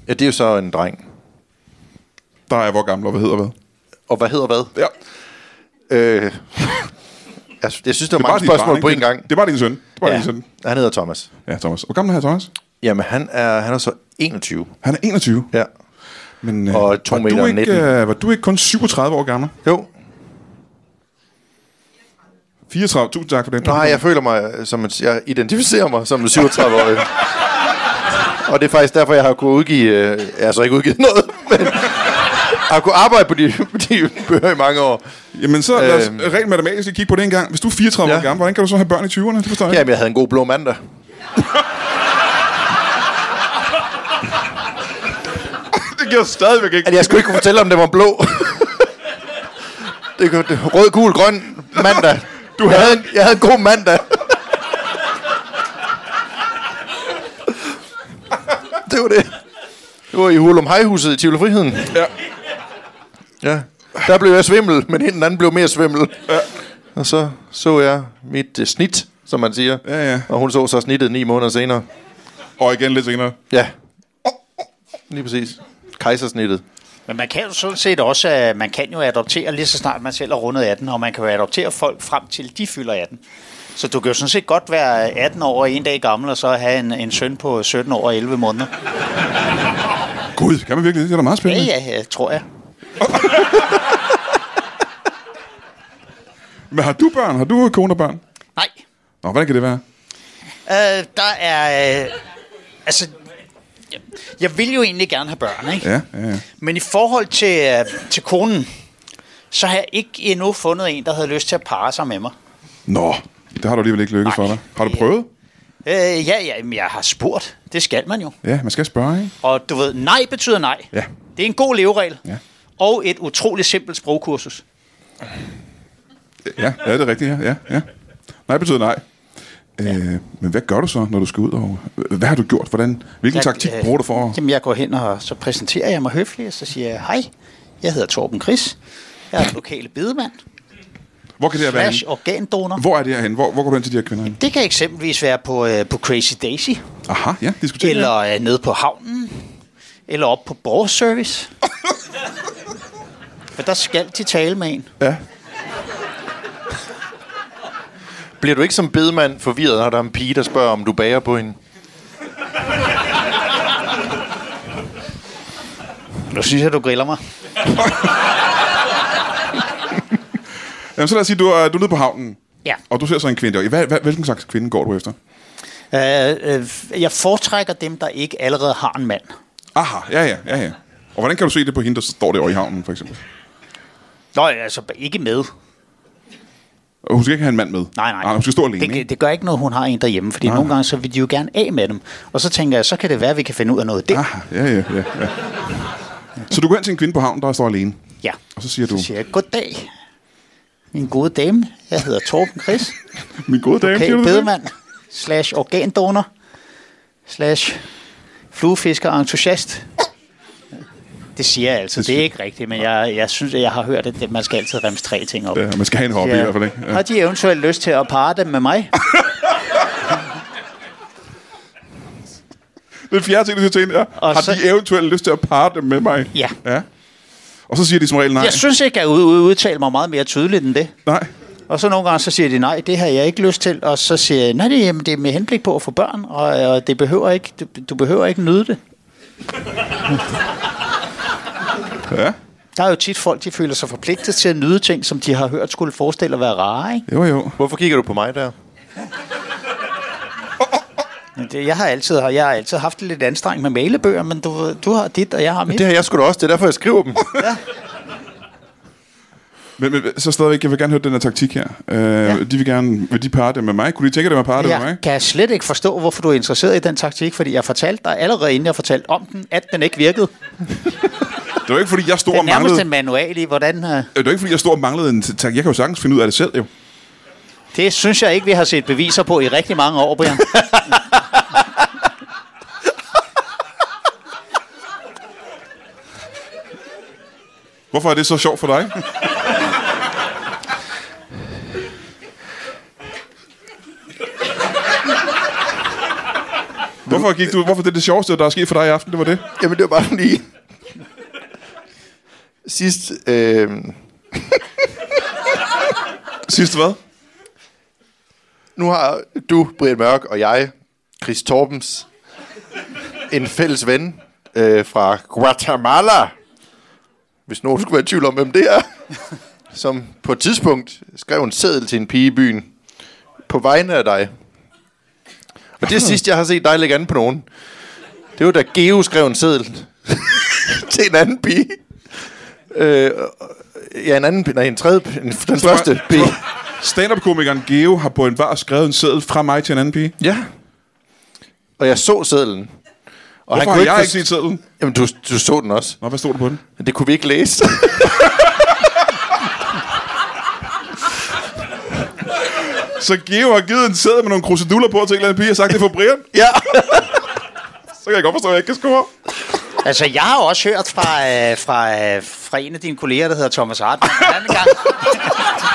[SPEAKER 3] Ja, det er jo så en dreng.
[SPEAKER 1] Der er hvor gammel, og hvad hedder hvad?
[SPEAKER 3] Og hvad hedder hvad?
[SPEAKER 1] Ja.
[SPEAKER 3] Øh, jeg, sy- jeg synes, der er, mange
[SPEAKER 1] dit
[SPEAKER 3] spørgsmål
[SPEAKER 1] barn,
[SPEAKER 3] på
[SPEAKER 1] ikke?
[SPEAKER 3] en gang.
[SPEAKER 1] Det er bare din søn. Det er bare ja. din søn.
[SPEAKER 3] Ja, han hedder Thomas.
[SPEAKER 1] Ja, Thomas. Hvor gammel er her, Thomas?
[SPEAKER 3] Jamen, han er, han er så 21.
[SPEAKER 1] Han er 21.
[SPEAKER 3] Ja.
[SPEAKER 1] Men, øh,
[SPEAKER 3] Og to
[SPEAKER 1] var
[SPEAKER 3] meter
[SPEAKER 1] du
[SPEAKER 3] og
[SPEAKER 1] ikke,
[SPEAKER 3] 19.
[SPEAKER 1] øh, var du ikke kun 37 år gammel?
[SPEAKER 3] Jo.
[SPEAKER 1] 34. Tusind tak for den.
[SPEAKER 3] Nej, jeg føler mig øh, som en, jeg identificerer mig som en 37-årig. og det er faktisk derfor, jeg har kunnet udgive... Øh, jeg har så ikke udgivet noget, men... Jeg har kunnet arbejde på de, de bøger i mange år.
[SPEAKER 1] Jamen så lad os
[SPEAKER 3] Øhm.
[SPEAKER 1] rent matematisk lige kigge på det en gang. Hvis du er 34 ja. år
[SPEAKER 3] Ja.
[SPEAKER 1] gammel, hvordan kan du så have børn i 20'erne? Det forstår jeg ikke.
[SPEAKER 3] Jamen, jeg havde en god blå mandag.
[SPEAKER 1] det giver stadigvæk ikke.
[SPEAKER 3] At Altså, jeg skulle ikke kunne fortælle, om den var blå. det, kunne- det, rød, gul, grøn mandag. Du jeg, havde en, jeg havde en god mandag. det var det. Det var i Hulum Hejhuset i Tivoli Friheden.
[SPEAKER 1] Ja.
[SPEAKER 3] Ja. Der blev jeg svimmel, men hende den anden blev mere svimmel. Ja. Og så så jeg mit uh, snit, som man siger.
[SPEAKER 1] Ja, ja.
[SPEAKER 3] Og hun så så snittet ni måneder senere.
[SPEAKER 1] Og igen lidt senere.
[SPEAKER 3] Ja. Lige præcis. Kejsersnittet.
[SPEAKER 2] Men man kan jo sådan set også, øh, man kan jo adoptere lige så snart man selv er rundet 18, og man kan jo adoptere folk frem til de fylder 18. Så du kan jo sådan set godt være 18 år og en dag gammel, og så have en, en søn på 17 år og 11 måneder.
[SPEAKER 1] Gud, kan man virkelig det? Det er da meget
[SPEAKER 2] Ja,
[SPEAKER 1] spændende.
[SPEAKER 2] ja, ja tror jeg.
[SPEAKER 1] Men har du børn? Har du kone og børn?
[SPEAKER 2] Nej,
[SPEAKER 1] Nå, hvordan kan det være?
[SPEAKER 2] øh, der er... Øh, altså, jeg- jeg vil jo egentlig gerne have børn, ikke?
[SPEAKER 1] Ja, ja, ja.
[SPEAKER 2] Men i forhold til, øh, til konen, så har jeg ikke endnu fundet en, der havde lyst til at parre sig med mig.
[SPEAKER 1] Nå, det har du alligevel ikke lykkes
[SPEAKER 2] Nej.
[SPEAKER 1] for dig. Har du
[SPEAKER 2] Det-
[SPEAKER 1] prøvet?
[SPEAKER 2] Øh, ja, ja, men jeg har spurgt. Det skal man jo.
[SPEAKER 1] Ja, man skal spørge, ikke?
[SPEAKER 2] Og du ved, nej betyder nej.
[SPEAKER 1] Ja.
[SPEAKER 2] Det er en god leveregel.
[SPEAKER 1] Ja.
[SPEAKER 2] Og et utroligt simpelt sprogkursus.
[SPEAKER 1] Ja, ja det er rigtigt, ja. ja, ja. Nej betyder nej. Ja. Øh, men hvad gør du så, når du skal ud? Og, hvad har du gjort? Hvordan, hvilken
[SPEAKER 2] Jeg-
[SPEAKER 1] taktik
[SPEAKER 2] øh,
[SPEAKER 1] bruger du for? at-
[SPEAKER 2] Jamen, jeg går hen, og så præsenterer jeg mig høfligt, og så siger jeg, hej, jeg hedder Torben Chris. Jeg er den lokale bedemand,
[SPEAKER 1] Hvor kan det her være?
[SPEAKER 2] slash
[SPEAKER 1] henne?
[SPEAKER 2] organdonor.
[SPEAKER 1] Hvor er det her henne? Hvor, hvor går du hen til de her kvinder? henne?
[SPEAKER 2] Det kan eksempelvis være på, øh, på Crazy Daisy,
[SPEAKER 1] Aha, ja, diskuterer.
[SPEAKER 2] eller øh, nede på havnen, eller op på borgerservice. For der skal de tale med en.
[SPEAKER 1] Ja.
[SPEAKER 3] Bliver du ikke som bedemand forvirret, når der er en pige, der spørger, om du bager på hende?
[SPEAKER 2] Nu synes jeg, du griller mig.
[SPEAKER 1] Jamen, så lad os sige, du er, du er nede på havnen.
[SPEAKER 2] Ja.
[SPEAKER 1] Og du ser så en kvinde der. Hvad, hvad, hvilken slags kvinde går du efter?
[SPEAKER 2] Øh, øh, jeg foretrækker dem, der ikke allerede har en mand.
[SPEAKER 1] Aha, ja, ja, ja, ja. Og hvordan kan du se det på hende, der står derovre i havnen, for eksempel?
[SPEAKER 2] Nå, altså ikke med.
[SPEAKER 1] Og hun skal ikke have en mand med. Ah,
[SPEAKER 2] Nej, nej.
[SPEAKER 1] nej hun skal stå alene,
[SPEAKER 2] det,
[SPEAKER 1] ikke?
[SPEAKER 2] det gør ikke noget, hun har en derhjemme, fordi nej. nogle gange så vil de jo gerne af med dem. Og så tænker jeg, så kan det være, at vi kan finde ud af noget af det.
[SPEAKER 1] Aha, ja, ja, ja, ja. Så du går hen til en kvinde på havnen, der står alene.
[SPEAKER 2] Ja.
[SPEAKER 1] Og så siger du,
[SPEAKER 2] Så siger jeg, goddag, min gode dame. Jeg hedder Torben Chris.
[SPEAKER 1] min gode dame, siger
[SPEAKER 2] Okay,
[SPEAKER 1] du det?
[SPEAKER 2] bedemand, slash organdonor, slash fluefisker og entusiast. Det siger jeg altså. Det er ikke rigtigt, men jeg, jeg synes, at jeg har hørt, at man skal altid remse tre ting op.
[SPEAKER 1] Ja, man skal have en hobby i hvert fald, ikke? Ja.
[SPEAKER 2] Har de eventuelt lyst til at parre dem med mig?
[SPEAKER 1] Den fjerde ting, du siger til hende, er,
[SPEAKER 2] Og
[SPEAKER 1] har
[SPEAKER 2] så-
[SPEAKER 1] de eventuelt lyst til at parre dem med mig?
[SPEAKER 2] Ja.
[SPEAKER 1] ja. Og så siger de som regel nej.
[SPEAKER 2] Jeg synes ikke, at jeg ud- udtaler mig meget mere tydeligt end det.
[SPEAKER 1] Nej.
[SPEAKER 2] Og så nogle gange, så siger de, nej, det har jeg ikke lyst til. Og så siger jeg, nej, det, jamen, det er med henblik på at få børn, og, og det behøver ikke, du, du behøver ikke nyde det.
[SPEAKER 1] Ja.
[SPEAKER 2] Der er jo tit folk, de føler sig forpligtet til at nyde ting, som de har hørt skulle forestille at være rare. Ikke?
[SPEAKER 1] Jo, jo.
[SPEAKER 3] Hvorfor kigger du på mig der?
[SPEAKER 2] Men det- Jeg har altid, jeg har altid haft det lidt anstrengt med malebøger, men du, du har dit, og jeg har mit.
[SPEAKER 3] Det har jeg sgu da også. Det er derfor, jeg skriver dem.
[SPEAKER 1] Men, men så stadigvæk, jeg vil gerne høre den her taktik her. Øh, ja. De vil gerne, vil de parre det med mig? Kunne de tænke det med at parre det med
[SPEAKER 2] Jeg
[SPEAKER 1] mig?
[SPEAKER 2] kan slet ikke forstå, hvorfor du er interesseret i den taktik, fordi jeg fortalte dig allerede inden jeg fortalte om den, at den ikke virkede.
[SPEAKER 1] Det var ikke, fordi jeg stod
[SPEAKER 2] Det er
[SPEAKER 1] og
[SPEAKER 2] nærmest
[SPEAKER 1] manglede...
[SPEAKER 2] en manual i, hvordan... Uh,
[SPEAKER 1] Det var ikke, fordi jeg stod og manglede en tak. Jeg kan jo sagtens finde ud af det selv, jo.
[SPEAKER 2] det synes jeg ikke, vi har set beviser på i rigtig mange år, Brian.
[SPEAKER 1] Hvorfor er det så sjovt for dig? Hvorfor, gik du, hvorfor det er det sjoveste, der er sket for dig i aften, det var det?
[SPEAKER 3] Jamen, det var bare lige... Sidst, øh,
[SPEAKER 1] Sidste hvad?
[SPEAKER 3] nu har du, Brian Mørk, og jeg, Chris Torbens, en fælles ven øh, fra Guatemala. Hvis nogen skulle være i tvivl om, hvem det er. som på et tidspunkt skrev en seddel til en pige i byen på vegne af dig. Og det er sidst, jeg har set dig lægge an på nogen. Det var da Geo skrev en seddel til en anden pige. Øh, ja, en anden, nej, en tredje, en, den første pige.
[SPEAKER 1] Stand-up-komikeren Geo har på en bar skrevet en seddel fra mig til en anden pige.
[SPEAKER 3] Ja. Og jeg så sedlen. Og
[SPEAKER 1] Hvorfor har jeg ikke
[SPEAKER 3] forst-
[SPEAKER 1] set sedlen?
[SPEAKER 3] Jamen, du, du så den også.
[SPEAKER 1] Nå, hvad stod der på den?
[SPEAKER 3] Men det kunne vi ikke læse.
[SPEAKER 1] Så Geo har givet en sæde med nogle kruseduller på til en eller anden pige og sagt, det er for Brian.
[SPEAKER 3] ja.
[SPEAKER 1] Så kan jeg godt forstå, at jeg ikke kan score.
[SPEAKER 2] Altså, jeg har også hørt fra, øh, fra, øh, fra en af dine kolleger, der hedder Thomas Hartmann, en anden gang.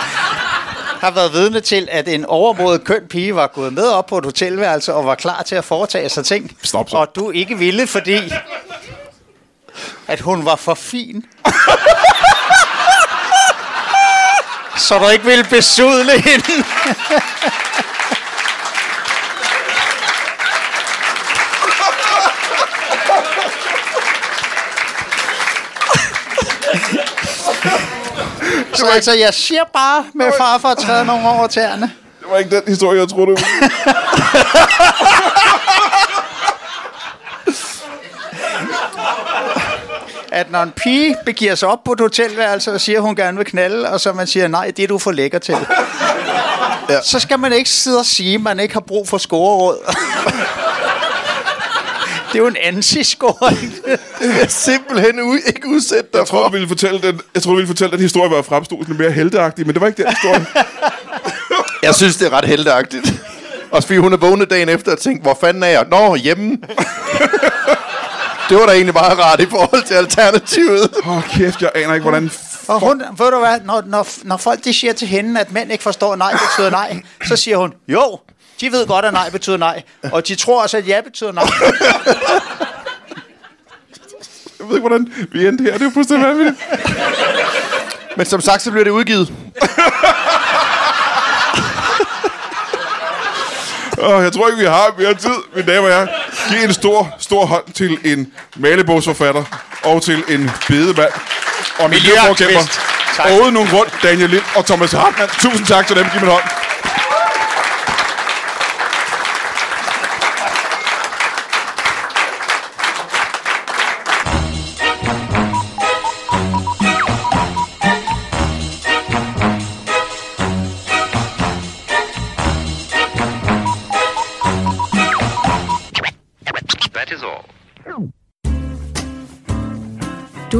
[SPEAKER 2] har været vidne til, at en overmodet køn pige var gået med op på et hotelværelse og var klar til at foretage sig ting.
[SPEAKER 1] Stop så.
[SPEAKER 2] Og du ikke ville, fordi at hun var for fin. Så du ikke ville besudle hende. Så altså, jeg siger bare med far for at træde nogle over tæerne.
[SPEAKER 1] Det var ikke den historie, jeg troede. det var.
[SPEAKER 2] at når en pige begiver sig op på et hotelværelse og siger, at hun gerne vil knalde, og så man siger, nej, det er du for lækker til. Ja. Så skal man ikke sidde og sige, at man ikke har brug for scoreråd. det er jo en anti-scoring.
[SPEAKER 3] Simpelthen u- ikke udsætte dig
[SPEAKER 1] Jeg troede, du ville fortælle, den, jeg troede, du ville fortælle, at historien var fremstående mere helteagtig, men det var ikke den historie.
[SPEAKER 3] Jeg synes, det er ret heldigagtigt. Også fordi hun er vågnet dagen efter og tænkt, hvor fanden er jeg? Nå, hjemme. det var da egentlig meget rart i forhold til alternativet.
[SPEAKER 1] Åh, oh, kæft, jeg aner ikke, hvordan... f-
[SPEAKER 2] Og hun, ved du hvad, når, når, når folk de siger til hende, at mænd ikke forstår, at nej betyder nej, så siger hun, jo, de ved godt, at nej betyder nej, og de tror også, at ja betyder nej.
[SPEAKER 1] Jeg ved ikke, hvordan vi endte her. Det er jo fuldstændig vanvittigt.
[SPEAKER 3] Men som sagt, så bliver det udgivet.
[SPEAKER 1] Oh, jeg tror ikke, vi har mere tid, mine damer og herrer. Giv en stor, stor hånd til en malebogsforfatter og til en bedemand og en miljøforkæmper.
[SPEAKER 2] Miljøaktivist. Tak.
[SPEAKER 1] Og uden nogen grund, Daniel Lind og Thomas Hartmann. Tusind tak til dem. Giv mig en hånd.
[SPEAKER 4] That is all.
[SPEAKER 5] Du